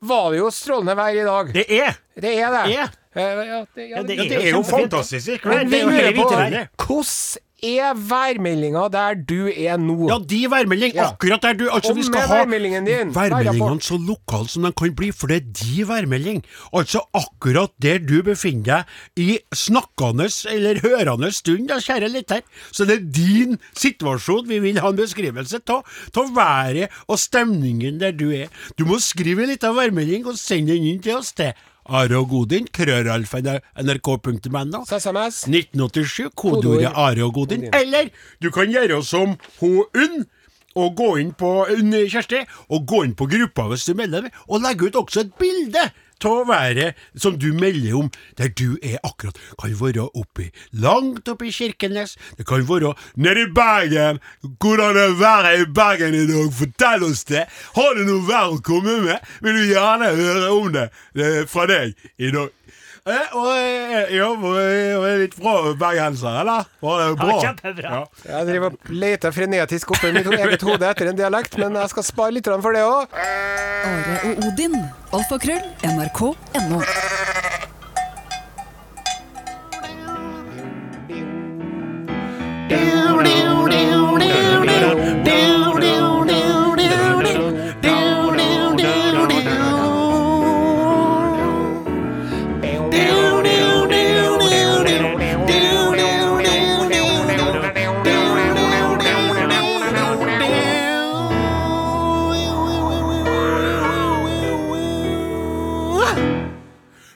[SPEAKER 4] var det jo strålende vær i dag.
[SPEAKER 2] Det er.
[SPEAKER 4] Det er det.
[SPEAKER 2] Ja.
[SPEAKER 4] Eh, ja, det, ja,
[SPEAKER 2] Ja, det er jo
[SPEAKER 3] kjempefint.
[SPEAKER 2] fantastisk.
[SPEAKER 4] Men vi
[SPEAKER 2] Det er jo
[SPEAKER 4] lurer
[SPEAKER 2] helt
[SPEAKER 4] på
[SPEAKER 2] vidunderlig.
[SPEAKER 4] hvordan er værmeldinga der du er nå?
[SPEAKER 2] Ja, de værmelding,
[SPEAKER 4] Ja.
[SPEAKER 2] akkurat der du Altså,
[SPEAKER 4] Og
[SPEAKER 2] vi
[SPEAKER 4] med
[SPEAKER 2] skal ha
[SPEAKER 4] værmeldingen din,
[SPEAKER 2] værmeldingene
[SPEAKER 4] værrapport.
[SPEAKER 2] så lokale som de kan bli, for det er de værmelding. Altså akkurat der du befinner deg i snakkende eller hørende stund, da, kjære lytter. Så det er din situasjon vi vil ha en beskrivelse av. Av været og stemningen der du er. Du må skrive en liten værmelding og sende den inn til oss til Are og Godin, krøralfa.nrk.no.
[SPEAKER 4] Så SMS.
[SPEAKER 2] 1987, kodeordet
[SPEAKER 4] Kodeord.
[SPEAKER 2] Are og Godin. Eller du kan gjøre som hun Unn, og gå inn på Unn Kjersti, og gå inn på gruppa hvis du melder deg, og legge ut også et bilde av været som du melder om, der du er akkurat. Kan være oppi, langt oppi Kirkenes, det kan være nede i Bergen. Hvordan er været i Bergen i dag? Fortell oss det! Har du noe vær å komme med? Vil du gjerne høre om det eh, fra deg i dag? Eh, Og eh, jo, og, eh, og er litt bra bergenser, eller? Var det bra?
[SPEAKER 3] Ja, kjempebra.
[SPEAKER 4] Jeg driver og leter frenetisk oppi mitt eget hode etter en dialekt, men jeg skal spare litt grann for det òg.
[SPEAKER 7] Are og Odin. Alfakrøll. NRK.no.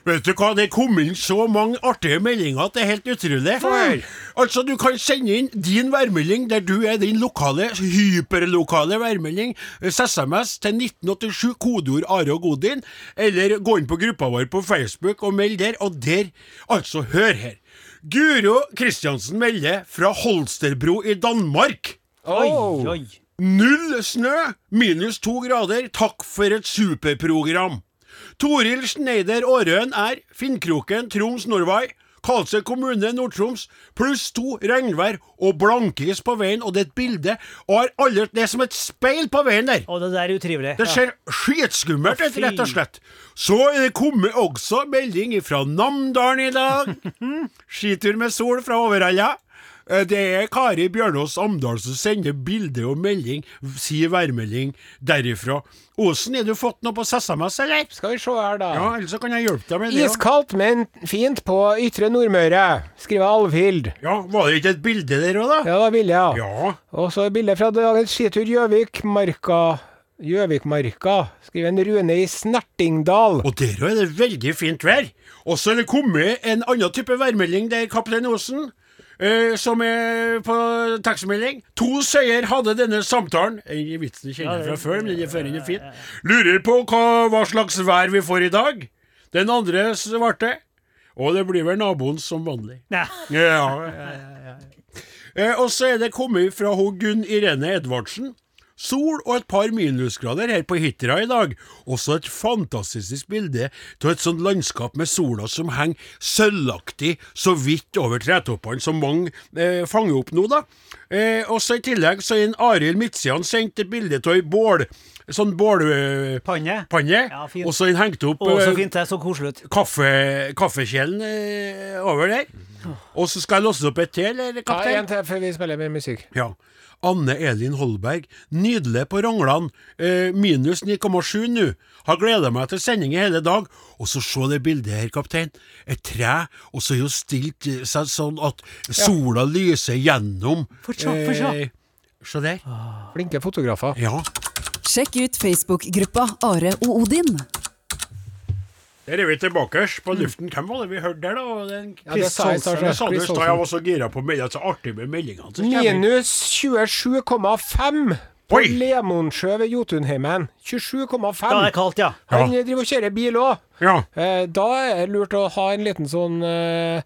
[SPEAKER 2] Vet du hva, det kom inn så mange artige meldinger at det er helt utrolig.
[SPEAKER 4] Oi.
[SPEAKER 2] Altså, du kan sende inn din værmelding der du er din lokale, hyperlokale værmelding, eh, SMS til 1987, kodeord Are og Godin, eller gå inn på gruppa vår på Facebook og meld der, og der, altså, hør her. Guro Kristiansen melder fra Holsterbro i Danmark.
[SPEAKER 3] Oi, oi.
[SPEAKER 2] Null snø, minus to grader. Takk for et superprogram. Toril Schneider Aarøen er Finnkroken, Troms, Norway. Karlsøy kommune, Nord-Troms. Pluss to, regnvær og blankis på veien. Og det er et bilde. Og har alle, det er som et speil på veien der.
[SPEAKER 3] Å, det der er utrivelig.
[SPEAKER 2] Det ser skitskummelt ut, rett og slett. Så er det kommet også melding fra Namdalen i dag. Skitur med sol fra Overhalla. Eh, Det er Kari Bjørnås Amdal som sender bilde og melding, sier værmelding derifra. Åsen, har du fått noe på SMS, eller?
[SPEAKER 4] Skal vi se her, da.
[SPEAKER 2] Ja, ellers så kan jeg hjelpe deg med det. da.
[SPEAKER 4] Iskaldt, men fint på ytre Nordmøre, skriver Alvhild.
[SPEAKER 2] Ja, Var det ikke et bilde der òg, da?
[SPEAKER 4] Ja, det var billig, ja.
[SPEAKER 2] Ja.
[SPEAKER 4] Og så et bilde fra dagens skitur Gjøvikmarka. Gjøvikmarka, skriver en Rune i Snertingdal.
[SPEAKER 2] Og der òg er det veldig fint vær. Og så er det kommet en annen type værmelding der, kaptein Osen. eh, som er på tekstmelding. To søyer hadde denne samtalen. Eh, Vitsen kjenner jeg fra før, men den er førende fin. Lurer på hva, hva slags vær vi får i dag. Den andre svarte. Og det blir vel naboen som vanlig.
[SPEAKER 3] Nei.
[SPEAKER 2] Ja, ja, ja, ja, ja. Eh, og så er det kommet fra hun Gunn Irene Edvardsen, sol og et par minusgrader her på Hitra i dag. Også et fantastisk bilde av et sånt landskap med sola som henger sølvaktig så vidt over tretoppene som mange eh, fanger opp nå, da. Eh, også i tillegg så er en Arild Midtsian sendt et bilde av ei bål, sånn bålpanne,
[SPEAKER 3] Panne. Ja,
[SPEAKER 2] eh,
[SPEAKER 3] fint.
[SPEAKER 2] og så er den hengt opp
[SPEAKER 3] Å, så
[SPEAKER 2] eh,
[SPEAKER 3] fint. Det så koselig ut.
[SPEAKER 2] kaffe, kaffekjelen eh, over der. Og så skal jeg låse opp et til, eller,
[SPEAKER 4] Ta
[SPEAKER 2] kaptein?
[SPEAKER 4] en til før vi spiller mer musikk.
[SPEAKER 2] Ja. Anne Elin Holberg, nydelig på Ronglan, eh, minus 9,7 nå. Har gleda meg til sending i hele dag. Og så se det bildet her, kaptein. Et tre, og så er jo stilt eh, seg sånn at sola lyser gjennom.
[SPEAKER 3] Få se, få se.
[SPEAKER 2] Eh, Se der.
[SPEAKER 4] Ah. Flinke fotografer.
[SPEAKER 2] Ja.
[SPEAKER 7] Sjekk ut Facebook-gruppa Are og Odin.
[SPEAKER 2] Der er vi tilbake på luften. Hvem var det vi hørte der, da? Den
[SPEAKER 4] Mm. Ja, det sa jeg i stad,
[SPEAKER 2] Kristiansen. Det sa du i
[SPEAKER 4] Kristiansen.
[SPEAKER 2] stad. Jeg var så gira på meldingene. Så artig med meldingene. som kommer.
[SPEAKER 4] Minus 27,5 på
[SPEAKER 2] Oi!
[SPEAKER 4] Lemonsjø ved Jotunheimen. 27,5.
[SPEAKER 3] Da er det kaldt, ja.
[SPEAKER 4] Han driver og kjører bil òg.
[SPEAKER 2] Ja.
[SPEAKER 4] Eh, Da er det lurt å ha en liten sånn eh,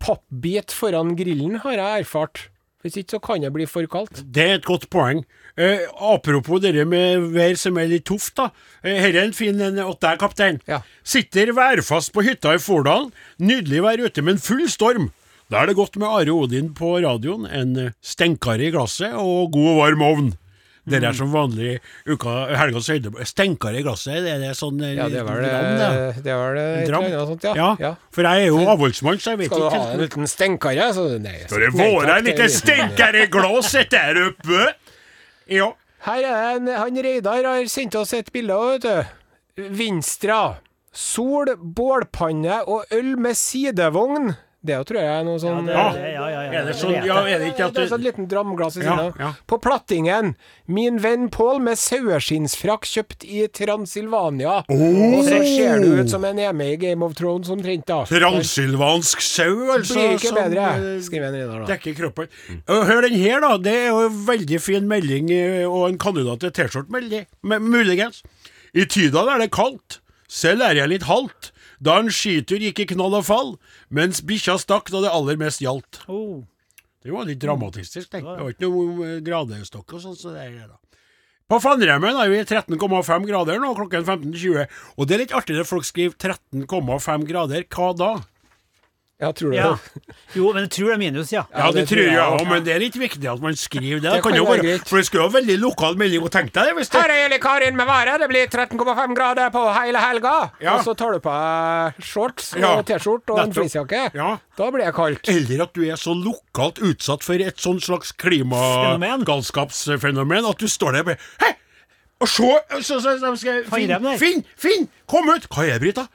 [SPEAKER 4] pappbit foran grillen, har jeg erfart. Hvis ikke så kan det bli for kaldt.
[SPEAKER 2] Det er et godt poeng. Eh, apropos det med vær som er litt tøft, da. Eh, her er en fin en åt deg, kaptein.
[SPEAKER 4] Ja.
[SPEAKER 2] Sitter værfast på hytta i Fordalen. Nydelig vær ute, men full storm. Da er det godt med Are Odin på radioen, en eh, stenkare i glasset og god og varm ovn. Det
[SPEAKER 4] Mm.
[SPEAKER 2] er som vanlig uka, helgas høydepunkt. Stenkare i glasset, er det sånn eh,
[SPEAKER 4] Ja, det var det,
[SPEAKER 2] dram, det?
[SPEAKER 4] det, var det et
[SPEAKER 2] Dram?
[SPEAKER 4] eller annet sånt, ja.
[SPEAKER 2] Ja,
[SPEAKER 4] ja.
[SPEAKER 2] for jeg er jo avholdsmann, så jeg vet
[SPEAKER 4] Skal du
[SPEAKER 2] ikke
[SPEAKER 4] ha en liten stenkare? Så nei, så-
[SPEAKER 2] Skal det
[SPEAKER 4] nei,
[SPEAKER 2] være
[SPEAKER 4] takk,
[SPEAKER 2] en
[SPEAKER 4] det
[SPEAKER 2] liten
[SPEAKER 4] er liten-
[SPEAKER 2] stenkare i glasset der oppe? Ja.
[SPEAKER 4] Her er en, han Reidar har sendt oss et bilde òg, vet du. Vinstra. Sol, bålpanne og øl med sidevogn. Det er jo, tror jeg er noe sånn
[SPEAKER 3] Det-
[SPEAKER 2] Ja.
[SPEAKER 3] det- ja, ja, ja.
[SPEAKER 2] Er det
[SPEAKER 3] Jeg
[SPEAKER 2] sånn,
[SPEAKER 3] vet
[SPEAKER 2] ja,
[SPEAKER 3] det.
[SPEAKER 2] er det ikke at
[SPEAKER 4] Det er sånn
[SPEAKER 2] du
[SPEAKER 4] liten dramglass i
[SPEAKER 2] Ja,
[SPEAKER 4] siden av.
[SPEAKER 2] ja.
[SPEAKER 4] På Plattingen, min venn Pål med saueskinnsfrakk kjøpt i Transilvania.
[SPEAKER 2] Oh!
[SPEAKER 4] Og så ser du ut som en hjemme i Game of Thrones omtrent, da.
[SPEAKER 2] Transylvansk sau, altså.
[SPEAKER 4] Blir ikke
[SPEAKER 2] som,
[SPEAKER 4] bedre,
[SPEAKER 2] eh,
[SPEAKER 4] skriver en Reidar da.
[SPEAKER 2] Dekker kroppen. Og Hør den her, da. Det er jo en veldig fin melding, eh, og en kandidat til T-skjorte, meldi- me- muligens. I Tydal er det kaldt. Selv er jeg litt halt. Da en skitur gikk i knall og fall, mens bikkja stakk da det aller mest gjaldt.
[SPEAKER 3] Oh.
[SPEAKER 2] Det var litt dramatistisk, tenk. Det var ikke noe eh, gradestokk og sånn. Så det er det da. På Fannremmen er vi 13,5 grader nå, klokken 15.20. Og det er litt artig når folk skriver 13,5 grader. Hva da?
[SPEAKER 4] Ja, tror du
[SPEAKER 3] Ja.
[SPEAKER 4] det?
[SPEAKER 3] Jo, men jeg tror det er minus, ja.
[SPEAKER 2] Ja, det, tror jeg òg,
[SPEAKER 4] også.
[SPEAKER 2] men det er litt viktig at man skriver det.
[SPEAKER 4] Det
[SPEAKER 2] det kan
[SPEAKER 4] kan
[SPEAKER 2] jo
[SPEAKER 4] være
[SPEAKER 2] være,
[SPEAKER 4] greit.
[SPEAKER 2] for det skulle jo være veldig lokal melding, og tenk deg det hvis det
[SPEAKER 4] Her er Eli Karin med vare. Det blir 13,5 grader på hele helga.
[SPEAKER 2] Ja.
[SPEAKER 4] Og så tar du på deg shorts og
[SPEAKER 2] Ja.
[SPEAKER 4] T-skjorte og en
[SPEAKER 2] Nettopp.
[SPEAKER 4] fleecejakke.
[SPEAKER 2] Ja.
[SPEAKER 4] Da blir det kaldt.
[SPEAKER 2] Eller at du er så lokalt utsatt for et sånn slags
[SPEAKER 3] Fenomen.
[SPEAKER 2] klimagalskapsfenomen at du står der og bare Hei! Og se! Så, så, så skal jeg,
[SPEAKER 3] dem
[SPEAKER 2] finn,
[SPEAKER 3] der.
[SPEAKER 2] finn! Finn! Kom ut! Hva er det, Brita?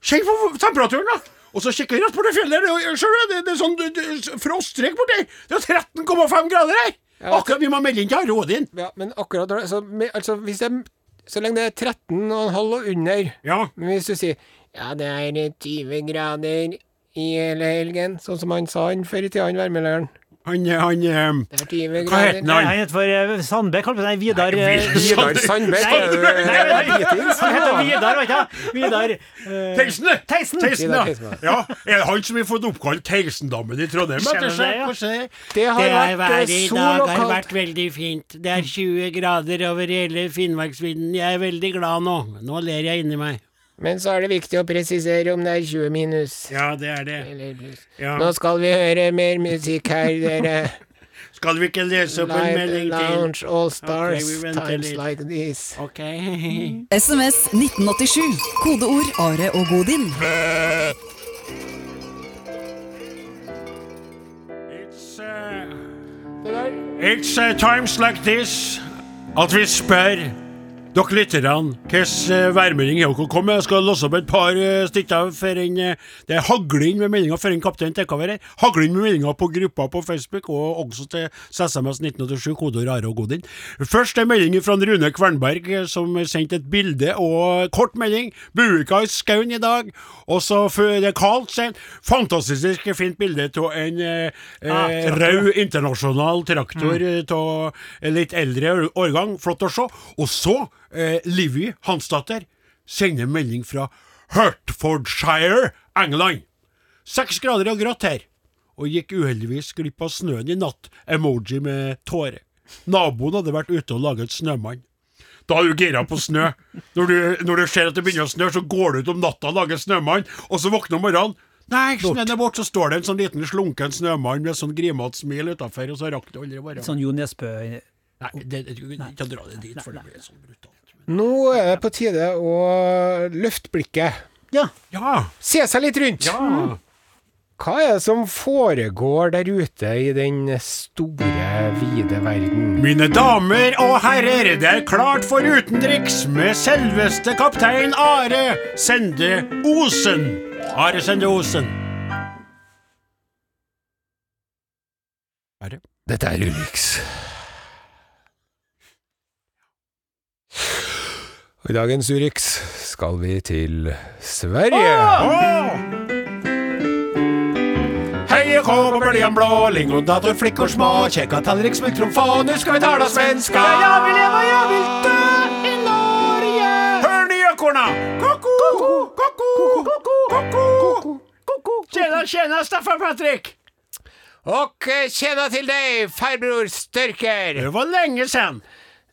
[SPEAKER 2] Kjenn på temperaturen, da! Og så kikker jeg rett på det fjellet der, og ser du, det, det er sånn det- det- froststrek borti! Det er 13,5 grader her! Akkurat vi må melde inn til Are Odin.
[SPEAKER 4] Ja, men akkurat da så, med, altså, hvis det, så lenge det er 13,5 og under
[SPEAKER 2] Ja.
[SPEAKER 4] Men hvis du sier Ja, det er 20 grader i hele helgen, sånn som han sa han før i tida, han værmelderen.
[SPEAKER 2] Han, han eh,
[SPEAKER 4] Det er 20
[SPEAKER 2] Hva het
[SPEAKER 4] grader.
[SPEAKER 2] han?
[SPEAKER 3] Nei, han heter for eh, Sandberg, kaller vi det. Nei, Vidar eh,
[SPEAKER 4] Vidar Sandberg.
[SPEAKER 3] Nei,
[SPEAKER 4] er jo-
[SPEAKER 3] nei, nei, nei.
[SPEAKER 4] Hitings.
[SPEAKER 3] Han heter Vidar, vet du. Vidar eh,
[SPEAKER 2] Theisen, det!
[SPEAKER 3] Theisen.
[SPEAKER 2] Theisen,
[SPEAKER 4] Vidar
[SPEAKER 2] ja.
[SPEAKER 4] Theisen,
[SPEAKER 2] ja. Er det han som har fått oppkalt Theisendammen i Trondheim?
[SPEAKER 3] Skjønner
[SPEAKER 2] etter seg?
[SPEAKER 3] det, ja.
[SPEAKER 2] Kanskje det?
[SPEAKER 4] Det har vært
[SPEAKER 2] været
[SPEAKER 4] eh, sol og kaldt.
[SPEAKER 2] veldig fint. Det er 20 grader over hele Finnmarksvidden. Jeg er veldig glad nå. Nå ler jeg inni meg.
[SPEAKER 4] Men så er det viktig å presisere om det er 20 minus
[SPEAKER 2] Ja, det er det.
[SPEAKER 4] eller pluss.
[SPEAKER 2] Ja.
[SPEAKER 4] Nå skal vi høre mer musikk her, dere.
[SPEAKER 2] Skal vi ikke lese opp en
[SPEAKER 4] Live
[SPEAKER 2] melding til?
[SPEAKER 4] Lounge All Stars,
[SPEAKER 2] Ok, vi venter
[SPEAKER 4] Times
[SPEAKER 2] litt.
[SPEAKER 4] Like This.
[SPEAKER 2] Ok.
[SPEAKER 7] SMS 1987. Kodeord Are og Odin.
[SPEAKER 2] It's, uh,
[SPEAKER 4] Det der
[SPEAKER 2] it's uh, times like this at vi spør dere lytterne hvilken uh, værmelding dere kom med. Jeg skal låse opp et par eh, stykker før en, eh, det er hagling med meldinger før en kaptein tar over her. Hagling med meldinger på gruppa på Facebook, og også til SMS 1987, kodeord Are og Godin. Først en melding fra Rune Kvernberg, eh, som sendte et bilde og kort melding. Buika i skauen i dag. Og så før det er kaldt, sier han. Fantastisk fint bilde av en eh,
[SPEAKER 3] Ah,
[SPEAKER 2] eh,
[SPEAKER 3] traktor.
[SPEAKER 2] rød internasjonal traktor av litt eldre år- årgang. Flott å se. Og så, eh, Livy Hansdatter sender melding fra Hertfordshire, England. Seks grader og grått her. Og gikk uheldigvis glipp av snøen i natt. Emoji med tåre. Naboen hadde vært ute og laget snømann. Da er du gira på snø. Når du, når du ser at det begynner å snø, så går du ut om natta og lager snømann, og så våkner du om morgenen. Nei, snøen er borte, så står det en sånn liten slunken snømann med sånn grimete smil utafor, og så rakk det aldri å være
[SPEAKER 3] Sånn Jo Nesbø
[SPEAKER 2] Nei, det, det, du kan ikke dra det dit, for det blir sånn brutalt.
[SPEAKER 4] Nå er det på tide å løfte blikket.
[SPEAKER 3] Ja.
[SPEAKER 2] Ja!
[SPEAKER 4] Se seg litt rundt. Hva er det som foregår der ute i den store, vide verden?
[SPEAKER 2] Mine damer og herrer, det er klart for utenriks med selveste kaptein Are Sende Osen. Are Sende Osen. Are?
[SPEAKER 4] Dette er Ulriks. Og I dagens Urix skal vi til Sverige.
[SPEAKER 2] Ah! Heie kå på bøljan blå, lingondator, flickor små, kjekka tallrik, smultronfå, nu ska vi tala svenska. Ja, jag vill leva, jag vill dö i Norge. Hör ni ekorna? Koko, koko, koko, koko. Tjena, tjena Staffan Patrik.
[SPEAKER 4] Og tjena til deg, farbror Størker.
[SPEAKER 2] Det var lenge sen.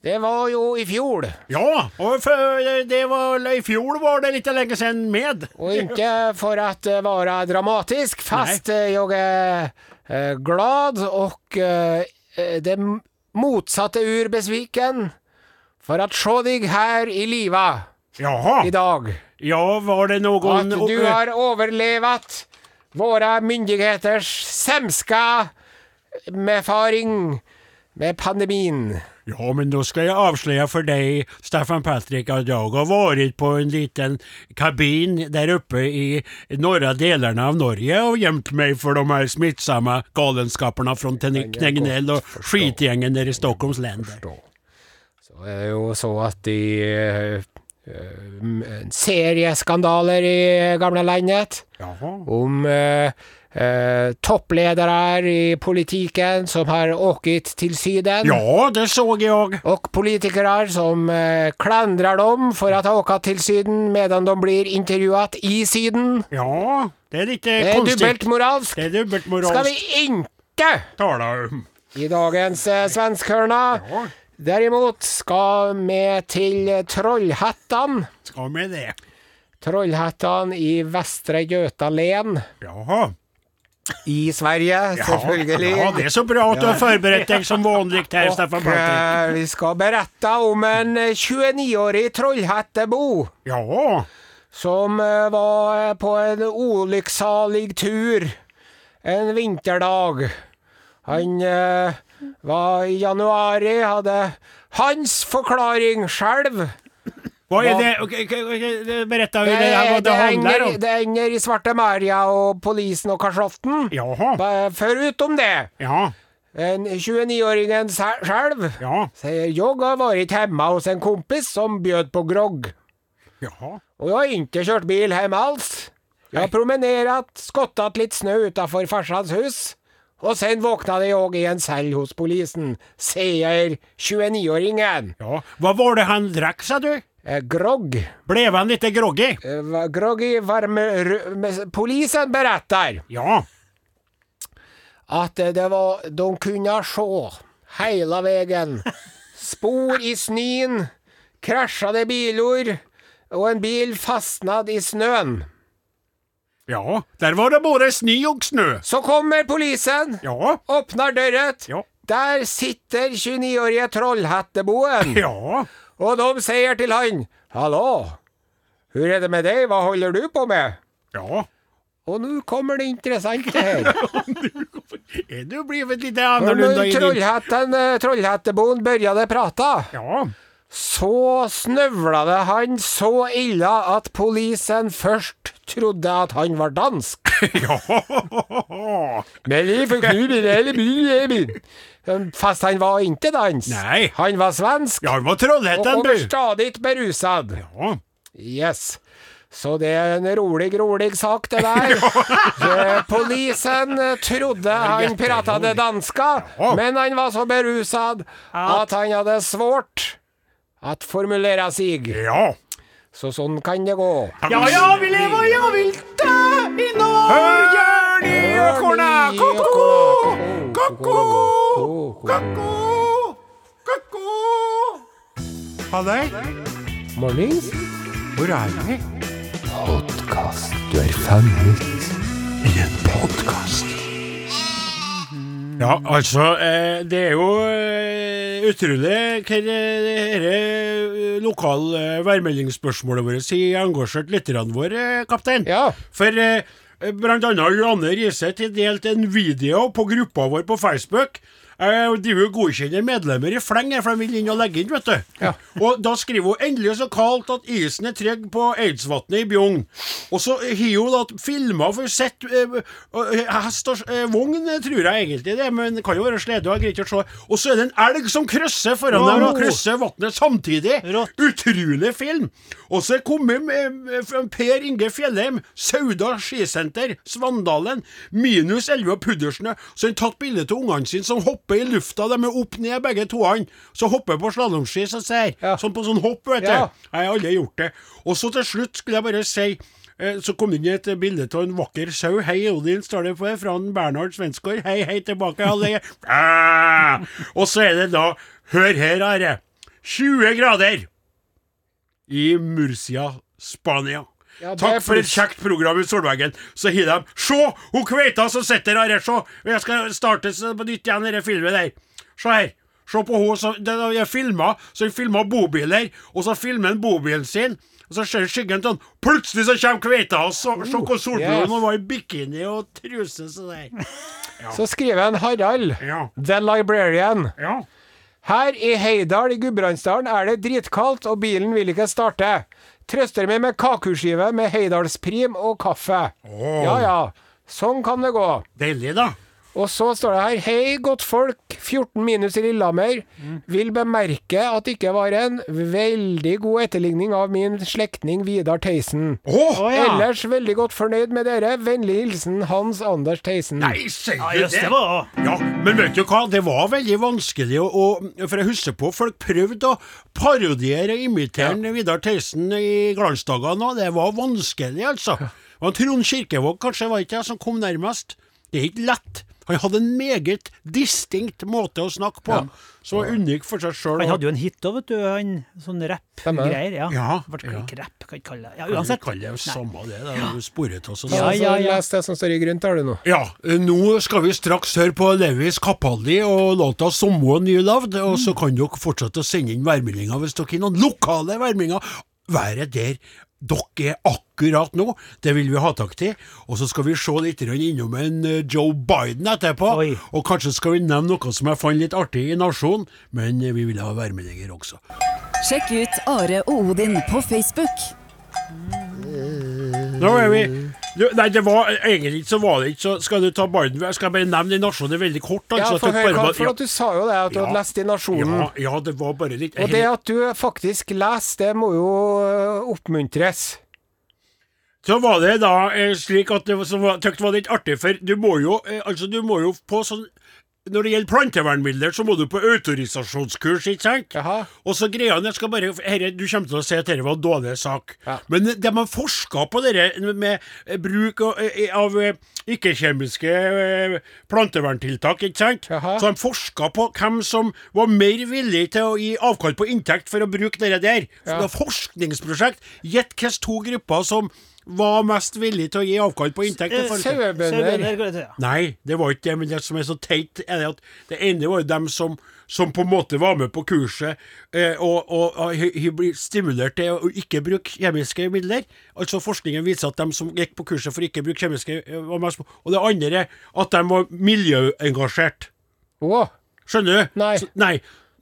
[SPEAKER 4] Det var jo i fjor,
[SPEAKER 2] Ja, og för, det var, i fjol var det lite länge sen med.
[SPEAKER 4] og ikke for at det var dramatisk, fast eh, jeg er eh, glad, og eh, eh, det m- motsatte ur besviken, for at se deg her i livet
[SPEAKER 2] Jaha,
[SPEAKER 4] i dag,
[SPEAKER 2] ja var det någon...
[SPEAKER 4] at du eh, har overlevet våre myndigheters semska medfaring med pandemien.
[SPEAKER 2] Ja, men då ska jag avslöja för dig, Staffan Patrik, att jag har varit på en liten kabin där uppe i norra delarna av Norge och gömt mig för de här smittsamma galenskaperna från Ten- Knägnell och skitgängen nere i Stockholms länder.
[SPEAKER 4] forstå. Så er det jo så at de eh, eh, en serie skandaler i gamle landet
[SPEAKER 2] Jaha.
[SPEAKER 4] om eh, eh, toppledere i politikken som har åket til Syden.
[SPEAKER 2] Ja, det såg jag.
[SPEAKER 4] Og politikere som eh, klandrer dem for at de har åket til Syden, medan de blir intervjuet i Syden.
[SPEAKER 2] Ja, det är lite
[SPEAKER 4] Det er
[SPEAKER 2] konstigt.
[SPEAKER 4] dobbelt moralsk.
[SPEAKER 2] Det är dubbelt
[SPEAKER 4] Skal vi
[SPEAKER 2] moraliskt.
[SPEAKER 4] ikke
[SPEAKER 2] Tala om.
[SPEAKER 4] i dagens eh, svenskhørna?
[SPEAKER 2] Ja,
[SPEAKER 4] Derimot skal vi til Trollhättan.
[SPEAKER 2] ska med det.
[SPEAKER 4] Trollhättan i Västra Götaland
[SPEAKER 2] Jaha.
[SPEAKER 4] i Sverige, selvfølgelig.
[SPEAKER 2] Ja, det är så bra att du har förberett dig som vanligt här, Staffan
[SPEAKER 4] Og
[SPEAKER 2] Patrik.
[SPEAKER 4] eh, vi skal berette om en eh, 29-årig trollhettebo
[SPEAKER 2] Ja.
[SPEAKER 4] som eh, var på en ulykksalig tur en vinterdag. Han eh, var i januari, hadde hans forklaring skjelv.
[SPEAKER 2] Vad är
[SPEAKER 4] Vad-
[SPEAKER 2] det? Okej, okej, okej, Berätta hur det,
[SPEAKER 4] Det,
[SPEAKER 2] här, vad det,
[SPEAKER 4] det,
[SPEAKER 2] handlar
[SPEAKER 4] henger,
[SPEAKER 2] om.
[SPEAKER 4] det henger i Svarte Maria og Polisen og Kasjotten.
[SPEAKER 2] Jaha,
[SPEAKER 4] Foruten det
[SPEAKER 2] ja,
[SPEAKER 4] En 29-åringen selv
[SPEAKER 2] ja,
[SPEAKER 4] sier jeg har vært hjemme hos en kompis som bjød på grogg.
[SPEAKER 2] jaha.
[SPEAKER 4] Og jeg har ikke kjørt bil hjem alls. Jeg har promenert, skottet litt snø utenfor farsans hus. Og sen våknet jeg i en cell hos polisen, sier 29-åringen.
[SPEAKER 2] Ja. Vad var det han drack sa du?
[SPEAKER 4] Eh, Grogg.
[SPEAKER 2] Blev han lite groggy?
[SPEAKER 4] Eh, va- Grogg i varme... ru- med- Polisen beretter
[SPEAKER 2] Ja,
[SPEAKER 4] at eh, det var De kunne se hele veien. Spor i snøen, krasjede biler, og en bil fastnad i snøen.
[SPEAKER 2] ja. Där var det både snö och snö.
[SPEAKER 4] Så kommer polisen,
[SPEAKER 2] Ja,
[SPEAKER 4] åpner døret.
[SPEAKER 2] Ja.
[SPEAKER 4] Der sitter 29-årige trollhatteboen,
[SPEAKER 2] ja,
[SPEAKER 4] og de sier til han Hallo, hvor er det med deg, hva holder du på med?
[SPEAKER 2] ja.
[SPEAKER 4] Og nå kommer det interessante her.
[SPEAKER 2] Är Eh, du blivit lite
[SPEAKER 4] Når
[SPEAKER 2] annorlunda i din...
[SPEAKER 4] trollhatten, eh, trollhatteboen begynte å prate
[SPEAKER 2] Ja,
[SPEAKER 4] Så snøvla det han så ille at polisen først trodde at han var dansk.
[SPEAKER 2] ja.
[SPEAKER 4] Men vi fikk nu bli det, eller bli det, bli. Fast han var ikke dansk.
[SPEAKER 2] Nei.
[SPEAKER 4] Han var svensk.
[SPEAKER 2] Ja, han var
[SPEAKER 4] og
[SPEAKER 2] Trollhättan du.
[SPEAKER 4] overstadig beruset.
[SPEAKER 2] Ja,
[SPEAKER 4] Yes. Så det er en rolig, rolig sak, det der. Eh, Polisen eh, trodde han prata det danska,
[SPEAKER 2] Ja.
[SPEAKER 4] men han var så beruset at han hadde svårt at formulere sig.
[SPEAKER 2] ja.
[SPEAKER 4] Så sånn kan det gå.
[SPEAKER 2] Ja, jag vill leva, jag vill dö i Norge. Hur gör ni ekorna? Koko, koko, koko, koko. Halløy,
[SPEAKER 4] Mornings.
[SPEAKER 2] hvor er vi? Ja, altså, eh, det er jo eh, utrolig hva dette lokale eh, værmeldingsspørsmålet vårt sier engasjert lytterne våre, eh, kaptein.
[SPEAKER 4] Ja.
[SPEAKER 2] For eh, blant annet Johanne Riise delte en video på gruppa vår på Facebook. Jeg driver og godkjenner medlemmer i fleng, jeg, for de vil inn og legge inn, vet du.
[SPEAKER 4] Ja.
[SPEAKER 2] Og da skriver hun endelig så kaldt at isen er trygg på Eidsvatnet i Bjugn. Og så har hun da filma for sitt eh, eh, hest og eh, vogn, eh, tror jeg egentlig det, er, men det kan jo være slede, og jeg greier ikke å se. Og så er det en elg som krysser foran dem, og krysser vannet samtidig.
[SPEAKER 3] Rått.
[SPEAKER 2] Utrolig film! Og så er kommet eh, fra Per Inge Fjellheim, Sauda skisenter, Svandalen, minus 11 av Puddersnø. Så han tatt bilde av ungene sine som hopper i lufta. De er opp ned begge toene. Så hopper på slalåmski, så sier
[SPEAKER 4] Ja.
[SPEAKER 2] Sånn på sånn hopp, vet du.
[SPEAKER 4] Ja.
[SPEAKER 2] Jeg har aldri gjort det. Og så til slutt skulle jeg bare si eh, så kom det inn et bilde av en vakker sau. Hei, Odin, står det på det, fra en Bernhard Svensgaard. Hei, hei, tilbake, alle. Ah! Og så er det da Hør her, Are. 20 grader i Murcia, Spania.
[SPEAKER 4] Ja, det er
[SPEAKER 2] Takk for et
[SPEAKER 4] pluss.
[SPEAKER 2] kjekt program i Solveggen. Så har de Se! Hun kveita som sitter her, se! Jeg skal starte s- på nytt igjen, denne filmen der. Se her. Se på hun som det er- Jeg filma, så jeg filma bobiler, og så filmer han bobilen sin. Og så ser skyggen til han. sånn. Plutselig så kommer kveita hans! Se hvor solbrun
[SPEAKER 4] yes.
[SPEAKER 2] hun var i bikini og truse sånn så der.
[SPEAKER 4] Så skriver en Harald,
[SPEAKER 2] Ja.
[SPEAKER 4] The Librarian.
[SPEAKER 2] Ja.
[SPEAKER 4] Her i Heidal i Gudbrandsdalen er det dritkaldt, og bilen vil ikke starte. Trøster meg med kakeskive med Heidalsprim og kaffe. Ja ja, sånn kan det gå.
[SPEAKER 2] Deilig, da.
[SPEAKER 4] Og så står det her Hei, godtfolk. 14 minus i Lillehammer. Vil bemerke at det ikke var en veldig god etterligning av min slektning Vidar Theisen.
[SPEAKER 2] Å!
[SPEAKER 3] Å, ja.
[SPEAKER 4] Ellers veldig godt fornøyd med dere. Vennlig hilsen Hans Anders Theisen.
[SPEAKER 2] Nei, sier
[SPEAKER 3] Ja,
[SPEAKER 2] du
[SPEAKER 3] jøss, det var
[SPEAKER 2] Ja, men vet du hva, det var veldig vanskelig å, å For jeg husker på folk prøvde å parodiere og imitere Vidar Theisen i glansdagene, og det var vanskelig, altså. Det var Trond Kirkevåg, kanskje, var ikke jeg, som kom nærmest. Det er ikke lett. Han hadde en meget distinkt måte å snakke på, som var unik for seg sjøl.
[SPEAKER 3] Han hadde jo en hit òg, vet du. Han, sånn rapp-greier. Ja.
[SPEAKER 2] Ja,
[SPEAKER 3] Ble
[SPEAKER 2] ja.
[SPEAKER 3] ikke rapp, kan ikke kalle det Ja,
[SPEAKER 2] Vi
[SPEAKER 3] uansett.
[SPEAKER 2] kaller det samme det, da. Du sporet oss og
[SPEAKER 4] Så,
[SPEAKER 2] sånn.
[SPEAKER 3] Ja, ja, ja.
[SPEAKER 4] Les det som står i grønt her, du nå.
[SPEAKER 2] Ja, Eh, nå skal vi straks høre på Levis Kapaldi og låta 'Someone You Loved', og så kan dere fortsette å sende inn værmeldinger hvis dere har noen lokale værmeldinger. Været der dere er akkurat nå, det vil vi ha tak i. Og så skal vi se litt grann innom en eh, Joe Biden etterpå,
[SPEAKER 3] Oi.
[SPEAKER 2] og kanskje skal vi nevne noe som jeg fant litt artig i Nasjonen, men eh, vi vil ha værmeldinger også.
[SPEAKER 7] Sjekk ut Are og Odin på Facebook.
[SPEAKER 2] Nå er vi du, Nei, det var eh, egentlig så var det ikke så Skal du ta Biden? Jeg skal bare nevne Nasjonen veldig kort.
[SPEAKER 4] Ja,
[SPEAKER 2] altså, at
[SPEAKER 4] for,
[SPEAKER 2] dere
[SPEAKER 4] hør,
[SPEAKER 2] bare-
[SPEAKER 4] Karl, for at du sa jo det, at du
[SPEAKER 2] Ja.
[SPEAKER 4] hadde lest i Nasjonen.
[SPEAKER 2] Ja, ja, det var bare litt
[SPEAKER 4] Og det at du faktisk leser, det må jo øh, oppmuntres.
[SPEAKER 2] Så var det da eh, slik at det var- som var, tøkt var litt artig, for du må jo, eh, altså, du må jo på sånn Når det gjelder plantevernmidler, så må du på autorisasjonskurs, ikke sant?
[SPEAKER 4] Jaha.
[SPEAKER 2] Og så greia jeg skal bare herre, Du kommer til å si at dette var en dårlig sak.
[SPEAKER 4] Ja.
[SPEAKER 2] Men de har forska på dette med eh, bruk og, eh, av eh, ikke-kjemiske eh, planteverntiltak, ikke sant?
[SPEAKER 4] Jaha.
[SPEAKER 2] Så de forska på hvem som var mer villig til å gi avkall på inntekt for å bruke dette der. Så
[SPEAKER 4] Ja.
[SPEAKER 2] det var forskningsprosjekt. Gjett hvilke to grupper som var mest villig til å gi avkall på inntekt.
[SPEAKER 4] Eh,
[SPEAKER 2] i forhold til-
[SPEAKER 4] Sauebønder.
[SPEAKER 3] går det til, ja.
[SPEAKER 2] Nei, det var ikke det, men det som er så teit, er det at det ene var jo dem som, som på en måte var med på kurset eh, og, og, og hy- hy- blir stimulert til å ikke bruke kjemiske midler. Altså Forskningen viser at dem som gikk på kurset for ikke å bruke kjemiske eh, var mest på. Og det andre at de var miljøengasjert.
[SPEAKER 4] Å,
[SPEAKER 2] Skjønner du?
[SPEAKER 4] Nei.
[SPEAKER 2] Så, nei.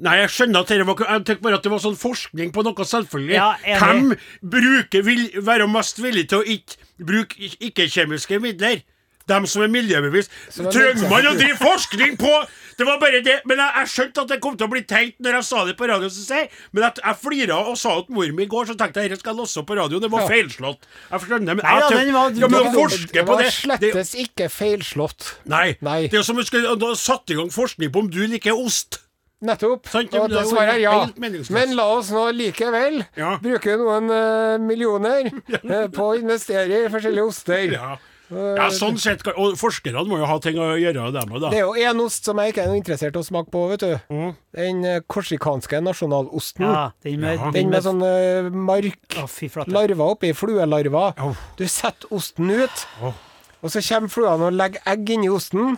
[SPEAKER 2] Nei, jeg skjønner at dere var, jeg tenkte bare at det var sånn forskning på noe selvfølgelig.
[SPEAKER 3] Ja, enig.
[SPEAKER 2] Hvem bruker, vil være mest villig til å ikke bruke ik- ikke-kjemiske midler? Dem som er miljøbevisst.
[SPEAKER 4] er
[SPEAKER 2] Trenger man å
[SPEAKER 4] miljøbevisst.
[SPEAKER 2] drive forskning på?! Det var bare det. Men jeg, jeg skjønte at det kom til å bli teit når jeg sa det på radioen. Så sier, jeg. men at jeg flira og sa det til mor mi i går, så tenkte jeg dette skal jeg låse opp på radioen. Det var
[SPEAKER 4] Ja.
[SPEAKER 2] feilslått. Jeg skjønner, men
[SPEAKER 3] Nei, ja,
[SPEAKER 2] jeg
[SPEAKER 3] den var-
[SPEAKER 2] ja, men å
[SPEAKER 3] det var-
[SPEAKER 2] forske på det,
[SPEAKER 4] var
[SPEAKER 2] det
[SPEAKER 4] slettes ikke feilslått.
[SPEAKER 2] Nei.
[SPEAKER 4] Nei.
[SPEAKER 2] Det er jo som om du skulle du har satt i gang forskning på om du liker ost.
[SPEAKER 4] Nettopp.
[SPEAKER 2] Sant,
[SPEAKER 4] og
[SPEAKER 2] det var
[SPEAKER 4] da
[SPEAKER 2] jo
[SPEAKER 4] svarer jeg
[SPEAKER 2] helt
[SPEAKER 4] ja.
[SPEAKER 2] meningsløst.
[SPEAKER 4] Men la oss nå likevel eh,
[SPEAKER 2] Ja.
[SPEAKER 4] bruke noen øh, millioner øh, på å investere i forskjellige oster.
[SPEAKER 2] Ja. Ja, sånn sett, kan- og forskerne må jo ha ting å gjøre, dem òg, da.
[SPEAKER 4] Det er jo én ost som jeg ikke er noe interessert i å smake på, vet du.
[SPEAKER 2] Mm.
[SPEAKER 4] Den eh, korsikanske nasjonalosten.
[SPEAKER 3] Ja, den med,
[SPEAKER 4] Den med
[SPEAKER 3] sånn
[SPEAKER 4] sånn eh, mark,
[SPEAKER 3] Å, fy flate.
[SPEAKER 4] larver oppi, fluelarver.
[SPEAKER 2] Au.
[SPEAKER 4] Du setter osten ut, og så kommer fluene og legger egg inni osten.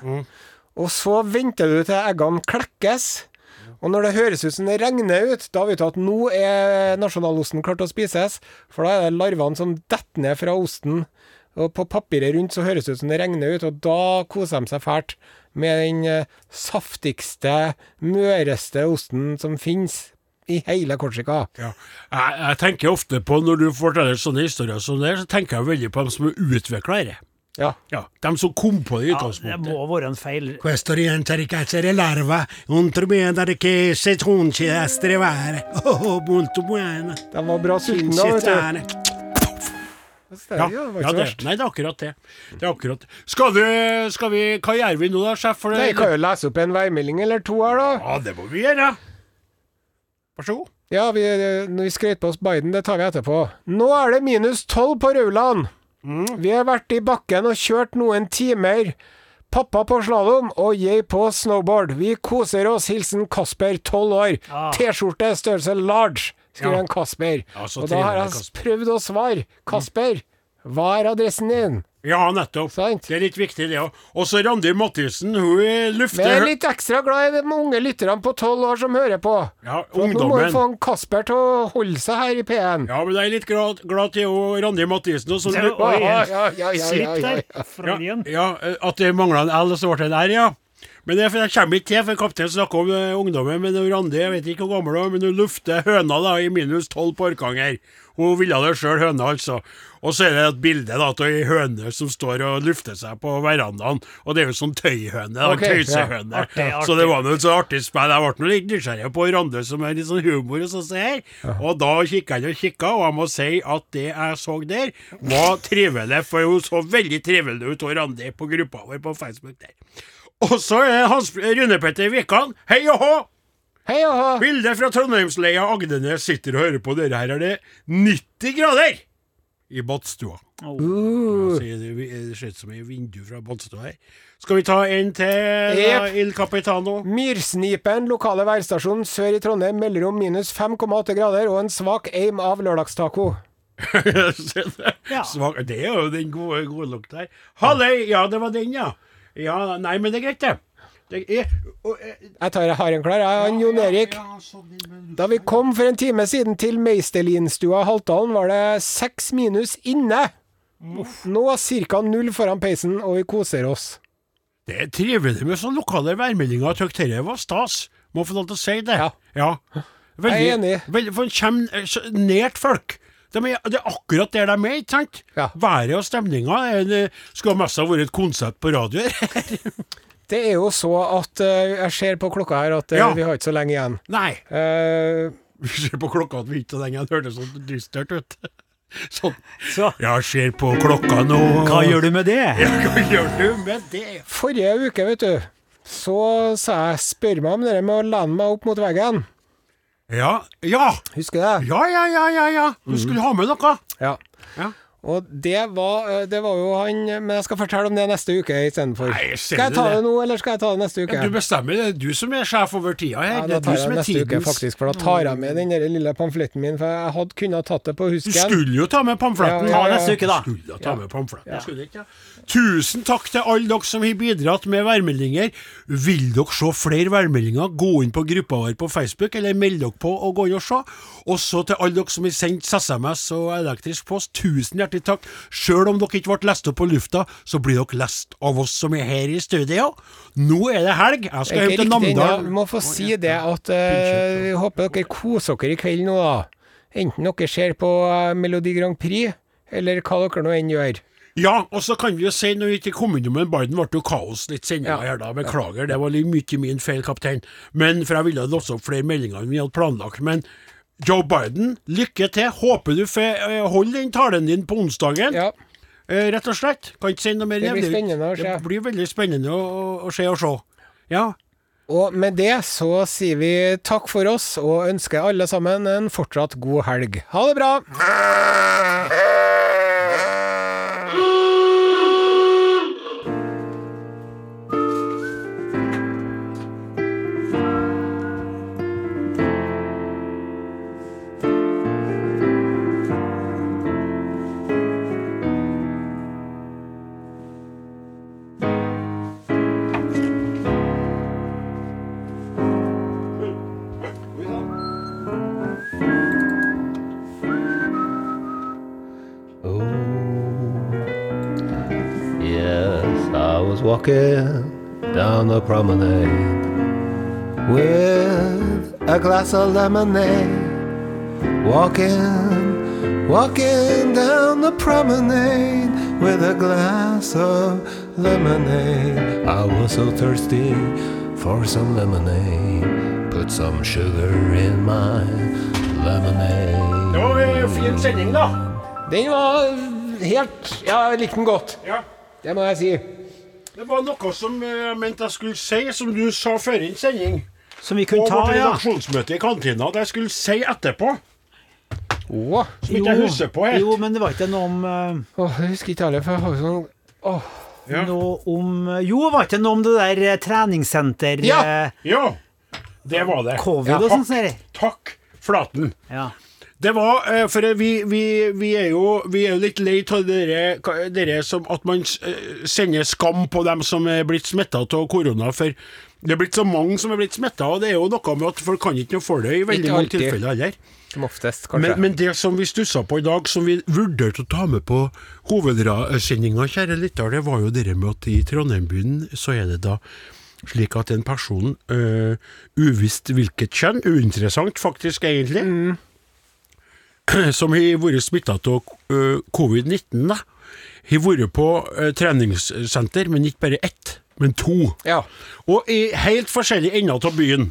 [SPEAKER 4] Og så venter du til eggene klekkes. Og når det høres ut som det regner ut, da vet du at nå er nasjonalosten klart å spises. For da er det larvene som detter ned fra osten. Og på papiret rundt så høres det ut som det regner ut, og da koser de seg fælt med den eh, saftigste, møreste osten som finnes i hele Korsika.
[SPEAKER 2] Ja. Jeg, jeg tenker ofte på, når du forteller sånne historier som det, så tenker jeg veldig på dem som er utvikla i det.
[SPEAKER 4] Ja.
[SPEAKER 2] Ja, dem som kom på det i
[SPEAKER 3] ja, Det
[SPEAKER 2] utgangspunktet.
[SPEAKER 3] må være en feil.
[SPEAKER 6] Questo rientrare cazzere larva, un trubedare che se tunce a strevare. Oh, molto buona.
[SPEAKER 4] De var bra sultne da, vet du.
[SPEAKER 6] Cittane.
[SPEAKER 4] Ja, det var
[SPEAKER 2] ja,
[SPEAKER 4] ikke så
[SPEAKER 2] det,
[SPEAKER 4] verst.
[SPEAKER 2] nei, det er akkurat det. det er akkurat. Skal, du, skal vi Hva gjør vi nå da, sjef? For
[SPEAKER 4] Nei,
[SPEAKER 2] det,
[SPEAKER 4] jeg kan jo lese opp en værmelding eller to her, da.
[SPEAKER 2] Ja, det må vi gjøre. Vær så god.
[SPEAKER 4] Ja, vi, når vi skrøt på oss Biden, det tar vi etterpå. Nå er det minus tolv på Rauland.
[SPEAKER 2] Mm.
[SPEAKER 4] Vi har vært i bakken og kjørt noen timer. Pappa på slalåm og jeg på snowboard. Vi koser oss. Hilsen Kasper, tolv år. T-skjorte størrelse large, skriver en Kasper.
[SPEAKER 2] Ja, så
[SPEAKER 4] og da har
[SPEAKER 2] trivelig,
[SPEAKER 4] jeg
[SPEAKER 2] Kasper.
[SPEAKER 4] prøvd å svare. Kasper, hva er adressen din?
[SPEAKER 2] Ja, nettopp.
[SPEAKER 4] Sant.
[SPEAKER 2] Det er litt viktig, det òg. Og så Randi Mathisen, hun
[SPEAKER 4] Men jeg
[SPEAKER 2] lufter
[SPEAKER 4] er litt ekstra glad i de unge lytterne på tolv år som hører på.
[SPEAKER 2] Ja,
[SPEAKER 4] For at nå må vi
[SPEAKER 2] ungdommen.
[SPEAKER 4] få en Kasper til å holde seg her i P1.
[SPEAKER 2] Ja, men jeg er litt glad, glad til hun Randi Mathisen. Og så,
[SPEAKER 3] Det-
[SPEAKER 4] Ja,
[SPEAKER 3] oi,
[SPEAKER 4] ja, ja, ja, ja,
[SPEAKER 3] Slipp
[SPEAKER 4] ja,
[SPEAKER 3] der
[SPEAKER 4] ja.
[SPEAKER 3] fra
[SPEAKER 2] ja,
[SPEAKER 3] igjen.
[SPEAKER 2] ja, eh, at det mangla en L, og så ble det en R, ja. Men det, er for jeg kommer ikke til, for kapteinen snakker om eh, ungdommen. Men hun Randi, jeg vet ikke hvor gammel hun er, men hun lufter høna da i minus tolv på Orkanger. Hun ville det sjøl, høna altså. Og så er det et bilde da, av ei høne som står og lufter seg på verandaen. Og det er jo sånn tøyhøne. da,
[SPEAKER 4] Ok, ja.
[SPEAKER 2] tøysehøne.
[SPEAKER 3] Artig, artig.
[SPEAKER 2] Så det var nå et så artig spill. Jeg ble nå litt nysgjerrig på Randi, som er litt sånn humor og sånn som her. Og da kikka jeg og kikka, og jeg må si at det jeg så der, var trivelig. For hun så veldig trivelig ut, og Randi, på gruppa vår på Facebook der. Og så er Hans Rune Petter Wikan. Hei og hå!
[SPEAKER 4] Hei og hå!
[SPEAKER 2] Bilde fra Trondheimsleia Agdenes sitter og hører på dere. Her er det 90 grader i badstua. Ja,
[SPEAKER 4] Uh.
[SPEAKER 2] så er det vi- er det ser ut som et vindu fra badstua her. Skal vi ta en til, da,
[SPEAKER 4] Jep.
[SPEAKER 2] Il Capitano?
[SPEAKER 4] Myrsnipen, lokale værstasjon sør i Trondheim, melder om minus 5,8 grader og en svak aim av lørdagstaco.
[SPEAKER 2] Se det. Svak, det er jo den gode, gode lukta her. Halløy! Ja, det var den, ja. ja. Nei, men det er greit, det. det er, og, eh,
[SPEAKER 4] Jeg tar jeg har en klar, jeg. Han Jon Erik. Da vi kom for en time siden til Meisterinstua Haltdalen, var det seks minus inne. Nå ca. null foran peisen, og vi koser oss.
[SPEAKER 2] Det er trivelig med sånne lokale værmeldinger. Tøk dette var stas. Må få lov til å si det.
[SPEAKER 4] Ja.
[SPEAKER 2] Ja.
[SPEAKER 4] Jeg er enig.
[SPEAKER 2] Veldig, for en kommer eh, så nært folk. De er, det er akkurat der de er, ikke sant?
[SPEAKER 4] Ja.
[SPEAKER 2] Været og stemninga er det- skulle mest ha vært et konsept på radio her.
[SPEAKER 4] Det er jo så at eh, jeg ser på klokka her at eh,
[SPEAKER 2] Ja.
[SPEAKER 4] vi har ikke så lenge igjen.
[SPEAKER 2] Nei.
[SPEAKER 4] Eh,
[SPEAKER 2] Vi ser på klokka at vi ikke har den igjen. Hørtes så dystert ut. Sånn.
[SPEAKER 3] Så
[SPEAKER 2] Jeg ser på klokka nå.
[SPEAKER 3] hva gjør du med det?
[SPEAKER 2] Ja, hva gjør du med det?
[SPEAKER 4] Forrige uke, vet du, så sa jeg spør meg om det der med å lene meg opp mot veggen.
[SPEAKER 2] Ja. Ja,
[SPEAKER 4] Husker du det?
[SPEAKER 2] ja, ja, ja. ja, ja. Du skulle ha med noe.
[SPEAKER 4] Ja.
[SPEAKER 2] Ja.
[SPEAKER 4] Og det var, eh, det var jo han Men jeg skal fortelle om det neste uke istedenfor.
[SPEAKER 2] Nei, ser
[SPEAKER 4] Skal jeg
[SPEAKER 2] du
[SPEAKER 4] ta
[SPEAKER 2] det?
[SPEAKER 4] det nå, eller skal jeg ta det neste uke?
[SPEAKER 2] Du bestemmer, det er du som er sjef over tida her.
[SPEAKER 4] ja,
[SPEAKER 2] det
[SPEAKER 4] da
[SPEAKER 2] er
[SPEAKER 4] tar
[SPEAKER 2] du
[SPEAKER 4] jeg
[SPEAKER 2] som
[SPEAKER 4] det
[SPEAKER 2] er
[SPEAKER 4] neste uke,
[SPEAKER 2] tidens
[SPEAKER 4] faktisk. For da tar jeg med den der lille pamfletten min, for jeg hadde kunnet tatt det på
[SPEAKER 2] Du
[SPEAKER 4] husken.
[SPEAKER 2] skulle jo ta med pamfletten.
[SPEAKER 4] Ja, ja, ja. Ta
[SPEAKER 3] neste uke, da.
[SPEAKER 2] Skulle jo ta med pamfletten. Jeg Skulle ikke, ja. Tusen takk til alle dere som har bidratt med værmeldinger. Vil dere se flere værmeldinger, gå inn på gruppa vår på Facebook, eller meld dere på og gå inn og se. Også til alle dere som har sendt SMS og elektrisk post, tusen hjertelig takk. Sjøl om dere ikke ble lest opp på lufta, så blir dere lest av oss som er her i studio. Nå er det helg. Jeg
[SPEAKER 4] Det er
[SPEAKER 2] skal hjem
[SPEAKER 4] Ikke
[SPEAKER 2] til
[SPEAKER 4] riktig ennå.
[SPEAKER 2] Namdalen.
[SPEAKER 4] Vi må få si det at eh, vi håper dere koser dere i kveld nå, da. Enten dere ser på eh, Melodi Grand Prix, eller hva dere nå enn gjør.
[SPEAKER 2] Ja, og så kan vi jo si når vi ikke kom innom men Biden, ble det jo kaos litt senere
[SPEAKER 4] Ja.
[SPEAKER 2] her da. Beklager, det var litt mye min feil, kaptein. Men For jeg ville ha låst opp flere meldinger enn vi hadde planlagt. Men Joe Biden, lykke til. Håper du får eh, holde den talen din på onsdagen.
[SPEAKER 4] Ja.
[SPEAKER 2] Eh, rett og slett. Kan ikke si noe mer.
[SPEAKER 4] Det blir
[SPEAKER 2] jevnlig.
[SPEAKER 4] spennende å se.
[SPEAKER 2] Det blir veldig spennende å, å, å se og se. Ja.
[SPEAKER 4] Og med det så sier vi takk for oss, og ønsker alle sammen en fortsatt god helg. Ha det bra!
[SPEAKER 8] was walking down the promenade with a glass of lemonade. Walking, walking down the promenade with a glass of lemonade. I was so thirsty for some lemonade. Put some sugar in my lemonade.
[SPEAKER 2] Det var en fin sending, da.
[SPEAKER 4] Den var helt Ja, jeg likte den godt.
[SPEAKER 2] Ja.
[SPEAKER 4] Det må jeg si.
[SPEAKER 2] Det var noe som eh, jeg mente jeg skulle si, som du sa før en sending.
[SPEAKER 3] Som vi
[SPEAKER 2] På
[SPEAKER 3] kunne ta,
[SPEAKER 2] vårt
[SPEAKER 3] ja.
[SPEAKER 2] redaksjonsmøte i kantina at jeg skulle si etterpå.
[SPEAKER 4] Åh,
[SPEAKER 2] Som ikke jeg husker på helt.
[SPEAKER 3] jo, men det var ikke noe om eh,
[SPEAKER 4] Åh, jeg husker ikke alle, for jeg har jo sånn Åh.
[SPEAKER 2] Ja.
[SPEAKER 3] Noe om Jo, var ikke noe om det der eh, treningssenter
[SPEAKER 4] Ja.
[SPEAKER 3] eh,
[SPEAKER 2] Ja, det var det.
[SPEAKER 3] Covid
[SPEAKER 2] Ja,
[SPEAKER 3] og sånn,
[SPEAKER 2] takk-
[SPEAKER 3] sier jeg.
[SPEAKER 2] Takk, Flaten.
[SPEAKER 3] Ja.
[SPEAKER 2] Det var eh, For eh, vi, vi, vi, er jo, vi er jo litt lei av dere, ka- dere som At man s- eh, sender skam på dem som er blitt smitta av korona. For det er blitt så mange som er blitt smitta, og det er jo noe med at folk kan ikke noe for det i
[SPEAKER 4] Ikke
[SPEAKER 2] veldig mange
[SPEAKER 4] alltid.
[SPEAKER 2] tilfeller heller.
[SPEAKER 4] Som oftest,
[SPEAKER 2] Men, men det som vi stussa på i dag, som vi vurderte å ta med på hovedsendinga, kjære lytter, det var jo det med at i Trondheim-byen så er det da slik at en person, øh, uvisst hvilket kjønn, uinteressant faktisk egentlig, som har vært smitta av øh, covid-19, da, har vært på øh, treningssenter, men ikke bare ett, men to.
[SPEAKER 4] ja.
[SPEAKER 2] Og i helt forskjellige ender av byen.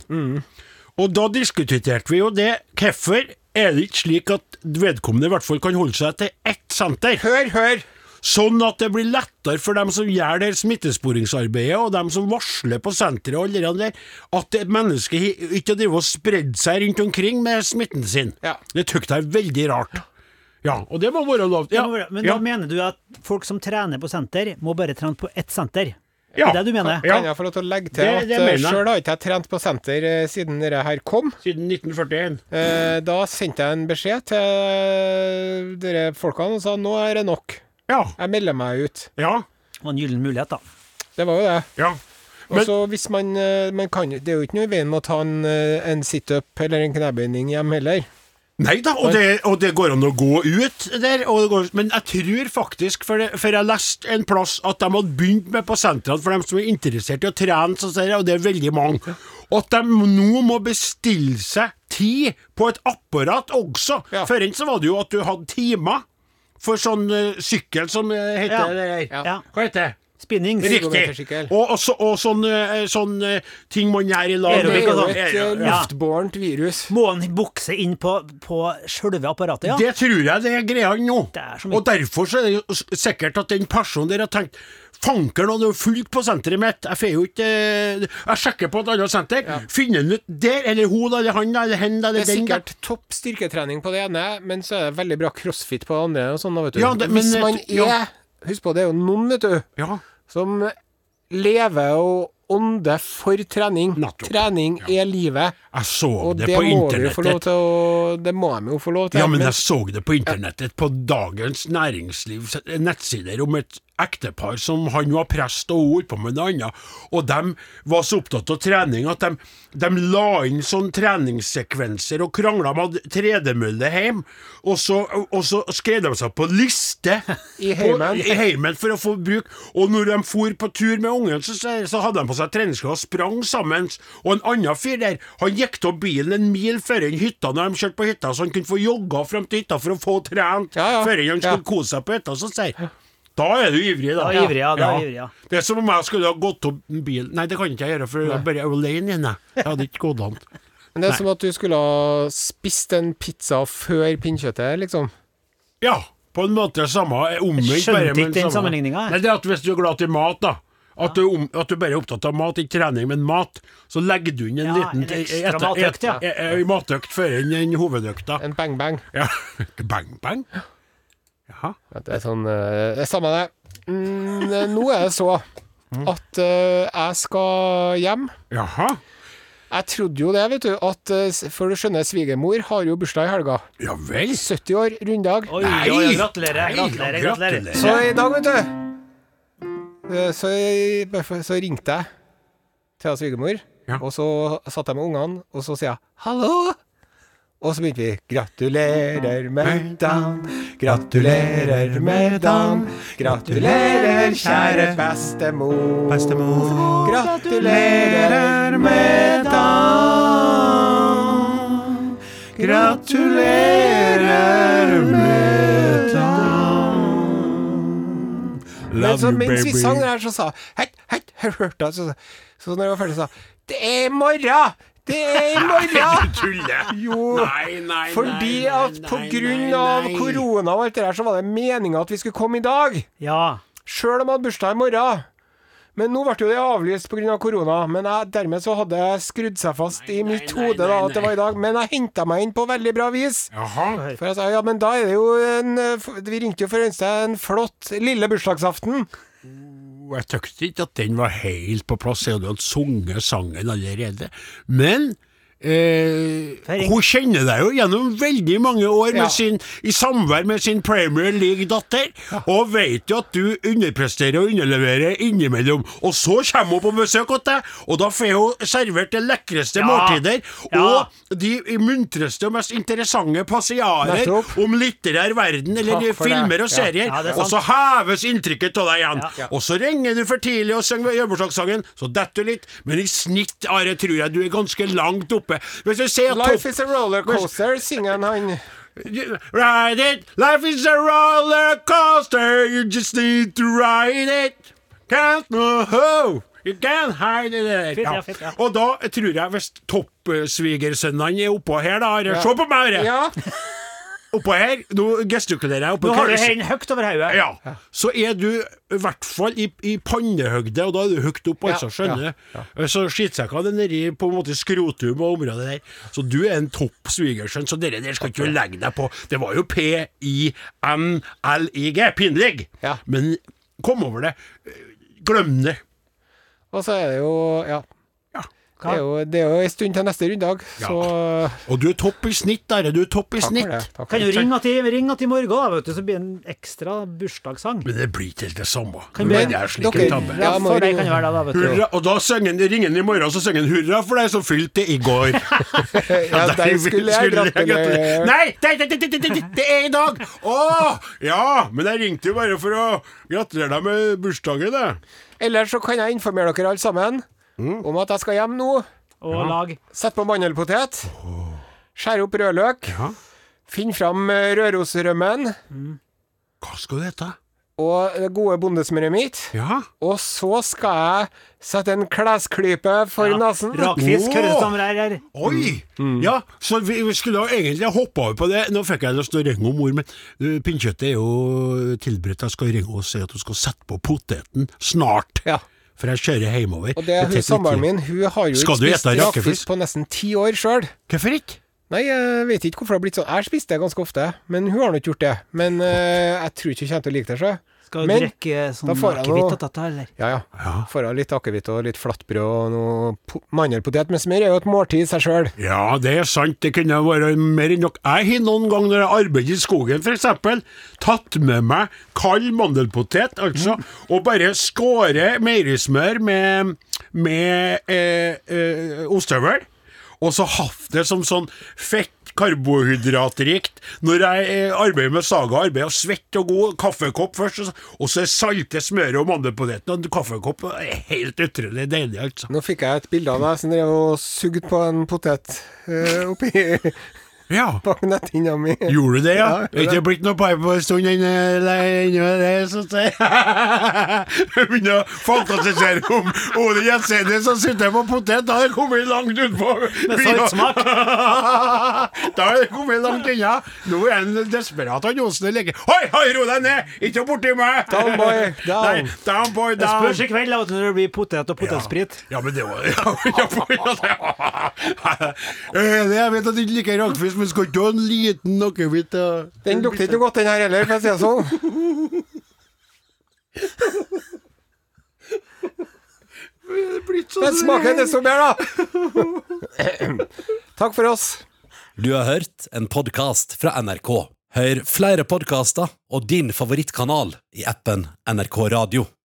[SPEAKER 2] Og da diskuterte vi jo det. Hvorfor er det ikke slik at vedkommende i hvert fall kan holde seg til ett senter?
[SPEAKER 4] Hør, hør!
[SPEAKER 2] Sånn at det blir lettere for dem som gjør det her smittesporingsarbeidet, og dem som varsler på senteret og alle de der, at et menneske hi- ikke driver og spredd seg rundt omkring med smitten sin.
[SPEAKER 4] Ja.
[SPEAKER 2] Det tykte jeg er veldig rart. Ja, og det må være lov.
[SPEAKER 3] Det
[SPEAKER 2] Ja,
[SPEAKER 3] må være- Men
[SPEAKER 2] ja,
[SPEAKER 3] da mener du at folk som trener på senter, må bare trene på ett senter?
[SPEAKER 2] ja.
[SPEAKER 3] det er det du mener?
[SPEAKER 2] Ja,
[SPEAKER 4] Kan jeg få lov til å legge til
[SPEAKER 2] Det-
[SPEAKER 4] at
[SPEAKER 2] det
[SPEAKER 4] eh,
[SPEAKER 2] mener jeg.
[SPEAKER 4] sjøl har ikke jeg trent på senter eh, siden dette her kom.
[SPEAKER 2] siden 1941.
[SPEAKER 4] Eh, da sendte jeg en beskjed til dere folkene og sa nå er det nok.
[SPEAKER 2] Ja,
[SPEAKER 4] Jeg melder meg ut.
[SPEAKER 2] ja,
[SPEAKER 3] Det var en gyllen mulighet, da.
[SPEAKER 4] Det var jo det.
[SPEAKER 2] ja.
[SPEAKER 4] Og så hvis man, eh, man kan, Det er jo ikke noe i veien med å ta en, eh, en situp eller en knebøyning hjem heller.
[SPEAKER 2] Nei da, og det, og det går an å gå ut der. Og det går, men jeg tror faktisk, for, det, for jeg leste en plass at de hadde begynt med på sentrene for dem som er interessert i å trene, så sier jeg, og det er veldig mange, at de nå må bestille seg tid på et apparat også.
[SPEAKER 4] Ja.
[SPEAKER 2] Før så var det jo at du hadde timer for sånn eh, sykkel som eh, heter
[SPEAKER 3] Ja.
[SPEAKER 2] det der.
[SPEAKER 3] Ja.
[SPEAKER 2] Hva heter det?
[SPEAKER 3] Spinning.
[SPEAKER 2] Riktig.
[SPEAKER 4] Ergometersykkel.
[SPEAKER 2] Og, og, så, og sånn, eh, sånn eh, ting man gjør i lag.
[SPEAKER 4] Det er jo
[SPEAKER 3] Aerobic
[SPEAKER 4] et eh,
[SPEAKER 3] Ja.
[SPEAKER 4] luftbårent virus.
[SPEAKER 3] Må han bukse inn på, på sjølve apparatet, ja?
[SPEAKER 2] Det tror jeg det er greia nå.
[SPEAKER 3] Det er så mye.
[SPEAKER 2] Og derfor så er det jo s- sikkert at den personen der har tenkt Fanker nå, det er jo fullt på senteret mitt, jeg får jo ikke eh, Jeg sjekker på et annet senter, finner den ut der, eller hun da, eller han da, eller hen da,
[SPEAKER 4] Det
[SPEAKER 2] eller
[SPEAKER 4] er
[SPEAKER 2] den da.
[SPEAKER 4] sikkert topp styrketrening på det ene, men så er det veldig bra crossfit på det andre. Og sånn, da, vet du.
[SPEAKER 2] Ja, det-
[SPEAKER 4] hvis
[SPEAKER 2] men,
[SPEAKER 4] man
[SPEAKER 2] eh, ja.
[SPEAKER 4] er Husk på, det er jo noen, vet du,
[SPEAKER 2] Ja.
[SPEAKER 4] som lever og ånder for trening.
[SPEAKER 2] Nettopp.
[SPEAKER 4] Trening er livet,
[SPEAKER 2] Jeg så
[SPEAKER 4] og
[SPEAKER 2] det,
[SPEAKER 4] det,
[SPEAKER 2] på
[SPEAKER 4] må vi jo få lov
[SPEAKER 2] internettet.
[SPEAKER 4] til å Det må de jo få lov til.
[SPEAKER 2] Ja, men jeg så det på internettet, på Dagens Næringslivs nettsider, om et ektepar som han var prest og hun holdt på med noe annet, og de var så opptatt av trening at de, de la inn sånne treningssekvenser og krangla om hadde tredemølle hjem, og så, og så skrev de seg på liste
[SPEAKER 4] I
[SPEAKER 2] på-
[SPEAKER 4] heimen.
[SPEAKER 2] i heimen for å få bruk, og når de for på tur med ungen, så, så hadde de på seg treningsklær og sprang sammen. Og en annen fyr der, han gikk av bilen en mil før enn hytta når de kjørte på hytta, så han kunne få jogga fram til hytta for å få trent
[SPEAKER 4] Ja, ja.
[SPEAKER 2] før han skulle
[SPEAKER 4] Ja.
[SPEAKER 2] kose seg på hytta. Så sier da er du ivrig, da.
[SPEAKER 3] Da er jeg ivrig, ja, da er jeg ivrig, ja.
[SPEAKER 2] Det er som om jeg skulle ha gått opp en bil Nei, det kan ikke jeg gjøre, for jeg er bare alene inne. Jeg hadde ikke gått an.
[SPEAKER 4] Men det er som at du skulle ha spist en pizza før pinnkjøttet, liksom.
[SPEAKER 2] Ja, på en måte det samme. eh, Omvendt,
[SPEAKER 3] Skjønte
[SPEAKER 2] bare.
[SPEAKER 3] ikke
[SPEAKER 2] men
[SPEAKER 3] den
[SPEAKER 2] samme.
[SPEAKER 3] sammenligninga, jeg.
[SPEAKER 2] Nei, det er at hvis du er glad i mat, da. At, du, om, at du bare er opptatt av mat, ikke trening, men mat. Så legger du inn en
[SPEAKER 3] Ja,
[SPEAKER 2] liten
[SPEAKER 3] en ekstra matøkt, ja.
[SPEAKER 2] et, et, e- matøkt før enn en hovedøkta.
[SPEAKER 4] En bang-bang.
[SPEAKER 2] Ja. Bang, bang. Jaha.
[SPEAKER 4] Det er sånn eh, Det er samme det. Mm, nå er det så
[SPEAKER 2] Mm.
[SPEAKER 4] at eh, jeg skal hjem.
[SPEAKER 2] Jaha.
[SPEAKER 4] Jeg trodde jo det, vet du, at eh, s- For du skjønner, svigermor har jo bursdag i helga.
[SPEAKER 2] Ja vel.
[SPEAKER 4] 70 år, runddag.
[SPEAKER 3] Oi,
[SPEAKER 2] Nei!
[SPEAKER 3] oi, oi, gratulerer,
[SPEAKER 2] Nei,
[SPEAKER 3] gratulerer,
[SPEAKER 2] ja,
[SPEAKER 3] gratulerer.
[SPEAKER 4] Så i dag, vet du eh, Så, jeg- bare- så ringte jeg til svigermor,
[SPEAKER 2] Ja.
[SPEAKER 4] og så satt jeg med ungene, og så sier jeg 'hallo'. Og så begynte vi. Gratulerer med dagen, gratulerer med dagen. Gratulerer, kjære bestemor.
[SPEAKER 6] Bestemor.
[SPEAKER 4] Gratulerer med dagen. Gratulerer med dagen. Men så mens vi sang den her, så sa Hei, hei, jeg hørte han, så, sa- så når jeg var ferdig, sa Det er i morgen! Det er i morgen!
[SPEAKER 2] Tulle!
[SPEAKER 4] Jo,
[SPEAKER 2] Nei, nei,
[SPEAKER 4] fordi
[SPEAKER 2] nei, nei,
[SPEAKER 4] at på
[SPEAKER 2] nei,
[SPEAKER 4] grunn
[SPEAKER 2] nei,
[SPEAKER 4] av
[SPEAKER 2] nei.
[SPEAKER 4] korona og alt det der, så var det meninga at vi skulle komme i dag.
[SPEAKER 3] Ja.
[SPEAKER 4] Sjøl om jeg hadde bursdag i morgen. Men nå ble jo det avlyst pga. Av korona. Men jeg, dermed så hadde jeg skrudd seg fast i mitt
[SPEAKER 2] nei,
[SPEAKER 4] hode da
[SPEAKER 2] nei,
[SPEAKER 4] at det var i dag. Men jeg henta meg inn på veldig bra vis.
[SPEAKER 2] Jaha.
[SPEAKER 4] For jeg sa ja, men da er det jo en eh, f- Vi ringte jo for å ønske deg en flott lille bursdagsaften.
[SPEAKER 2] Og Jeg tykte ikke at den var helt på plass, jeg hadde jo sunget sangen allerede. Men eh,
[SPEAKER 3] Feiring.
[SPEAKER 2] hun kjenner deg jo gjennom veldig mange år med
[SPEAKER 4] Ja.
[SPEAKER 2] sin, i samvær med sin Premier League-datter, og vet jo at du underpresterer og underleverer innimellom. Og så kommer hun på besøk hos deg, og da får hun servert det lekreste
[SPEAKER 3] Ja.
[SPEAKER 2] måltider,
[SPEAKER 3] Ja.
[SPEAKER 2] og de muntreste og mest interessante passiarer
[SPEAKER 4] Nettopp.
[SPEAKER 2] om litterær verden, eller
[SPEAKER 4] Takk for det.
[SPEAKER 2] filmer og
[SPEAKER 4] Ja.
[SPEAKER 2] serier.
[SPEAKER 3] Ja, det er
[SPEAKER 2] og så heves inntrykket av deg igjen.
[SPEAKER 3] Ja.
[SPEAKER 2] Og så ringer du for tidlig og synger jubileumssangen, så detter du litt, men i snitt, Are, tror jeg du er ganske langt oppe. Hvis du ser at
[SPEAKER 4] Life
[SPEAKER 2] topp
[SPEAKER 4] is a rollercoaster, synger han. han.
[SPEAKER 2] Ride it, life is a roller coaster, you just need to ride it. Can't no ho, you can't hide it.
[SPEAKER 3] Fint, ja, fint, ja.
[SPEAKER 2] Og da tror jeg, hvis toppsvigersønnene er oppå her, da, Are, se på meg, Are.
[SPEAKER 4] Ja.
[SPEAKER 2] Oppå her, nå gestikulerer jeg. Oppå
[SPEAKER 3] Nå har du
[SPEAKER 2] her.
[SPEAKER 3] hendene høyt over hodet.
[SPEAKER 2] Ja. Så er du i hvert fall i, i pannehøgde, og da er du høyt opp, altså,
[SPEAKER 4] Ja,
[SPEAKER 2] skjønner du. Så skittsekkene er nedi på en måte skrotum og området der. Så du er en topp svigersønn, så dere der skal ikke du legge deg på. Det var jo P-I-N-L-I-G, pinlig!
[SPEAKER 4] Ja.
[SPEAKER 2] Men kom over det. Glem det.
[SPEAKER 4] Og så er det jo Ja. Det er jo, det er jo en stund til neste runddag,
[SPEAKER 2] Ja.
[SPEAKER 4] så
[SPEAKER 2] Og du er topp i snitt, Are. Du er topp i
[SPEAKER 4] Takk for
[SPEAKER 2] snitt.
[SPEAKER 4] det. Takk for
[SPEAKER 3] Kan
[SPEAKER 4] det.
[SPEAKER 3] jo ringe til, ringe til i morgen, da, vet du, så blir det en ekstra bursdagssang.
[SPEAKER 2] Men det blir ikke helt det samme.
[SPEAKER 3] Kan
[SPEAKER 2] Men
[SPEAKER 3] dere-
[SPEAKER 2] det er slik
[SPEAKER 4] dere-
[SPEAKER 2] en tabbe.
[SPEAKER 4] Ja,
[SPEAKER 3] Ja,
[SPEAKER 4] må
[SPEAKER 3] for
[SPEAKER 4] ringe.
[SPEAKER 3] deg kan det være det, da, vet du.
[SPEAKER 2] Hurra, og da synger han- ringer han i morgen, så synger han 'Hurra for deg som fylte i går'.
[SPEAKER 4] Ja, der skulle jeg gratulere.
[SPEAKER 2] Nei, det, det, det, det, det, det, det er i dag! Å! ja, men jeg ringte jo bare for å gratulere deg med bursdagen, jeg.
[SPEAKER 4] Ellers så kan jeg informere dere alle sammen
[SPEAKER 2] Mm.
[SPEAKER 4] om at jeg skal hjem nå.
[SPEAKER 3] Og lag.
[SPEAKER 4] Sette på mandelpotet. Skjære opp rødløk.
[SPEAKER 2] Ja.
[SPEAKER 4] Finn fram eh, rørosrømmen
[SPEAKER 2] Hva skal du hete?
[SPEAKER 4] og det gode bondesmøret mitt.
[SPEAKER 2] Ja.
[SPEAKER 4] Og så skal jeg sette en klesklype for nesen.
[SPEAKER 3] Rakfisk
[SPEAKER 2] Åh!
[SPEAKER 3] høres det som det er her.
[SPEAKER 2] Oi!
[SPEAKER 4] Mm.
[SPEAKER 2] Ja, så vi, vi skulle jo egentlig ha hoppa over på det. Nå fikk jeg lyst til å ringe om mor, men uh, pinnkjøttet er jo tilberedt. Jeg skal ringe og si at hun skal sette på poteten snart.
[SPEAKER 4] Ja.
[SPEAKER 2] For jeg kjører hjemover.
[SPEAKER 4] Og det er
[SPEAKER 2] Det tar litt
[SPEAKER 4] hun
[SPEAKER 2] tid.
[SPEAKER 4] samboeren min. Hun har jo
[SPEAKER 2] Skal
[SPEAKER 4] ikke
[SPEAKER 2] du
[SPEAKER 4] spist
[SPEAKER 2] ete rakfisk?
[SPEAKER 4] rakfisk på nesten ti år sjøl.
[SPEAKER 2] Hvorfor ikke?
[SPEAKER 4] Nei, jeg vet ikke hvorfor det har blitt sånn. Jeg spiste det ganske ofte, men hun har nå ikke gjort det. Men eh, jeg tror ikke hun kommer til å like det sjøl.
[SPEAKER 3] Skal du
[SPEAKER 4] Men
[SPEAKER 3] drikke sånn
[SPEAKER 4] da får jeg noe-
[SPEAKER 3] akevitt og dette, eller?
[SPEAKER 4] Ja, ja. Får av litt akevitt og litt flatbrød og noe po- mandelpotet med smør. er jo et måltid i seg sjøl.
[SPEAKER 2] Ja, det er sant, det kunne vært mer enn nok. Jeg har noen ganger når jeg arbeider i skogen f.eks., tatt med meg kald mandelpotet, altså, og bare skåret meierismør med, med eh, eh, ostehøvel, og så hatt det som sånn fett karbohydratrikt når jeg eh, arbeider med saga, arbeider og svett og god kaffekopp først, og så- og så er salte smøret og mandelpoteten og en kaffekopp det er helt utrolig deilig, altså.
[SPEAKER 4] Nå fikk jeg et bilde av deg som drev og sugde på en potet eh, oppi
[SPEAKER 2] Ja.
[SPEAKER 4] bak netthinna mi.
[SPEAKER 2] Gjorde du det, ja?
[SPEAKER 4] Ja,
[SPEAKER 2] Det er ikke blitt noe pipe på en stund ennå, ennå det, så å si. Jeg begynner å fantasisere om Ole Jensenius som sitter på potet. Da har det kommet langt utpå. Med
[SPEAKER 3] saltsmak.
[SPEAKER 2] Da har det kommet langt unna. Nå er han desperat, han Osen. og ligger Hoi, hoi, ro deg ned! Ikke borti meg!
[SPEAKER 4] Down, boy, down.
[SPEAKER 2] Nei, down, boy,
[SPEAKER 3] Det
[SPEAKER 2] down.
[SPEAKER 3] spørs i kveld da, vet du, når det blir potet og potetsprit.
[SPEAKER 2] Ja, men det var ja, ja, for- ja, det- Eh, Jeg vet at du ikke liker rakfisk, men skal ikke ha en liten nakkevitt? da?
[SPEAKER 4] Den lukter ikke noe godt, den her heller, for å si det sånn. Men smaken er desto bedre, da! Takk for oss.
[SPEAKER 1] Du har hørt en podkast fra NRK. Hør flere podkaster og din favorittkanal i appen NRK Radio.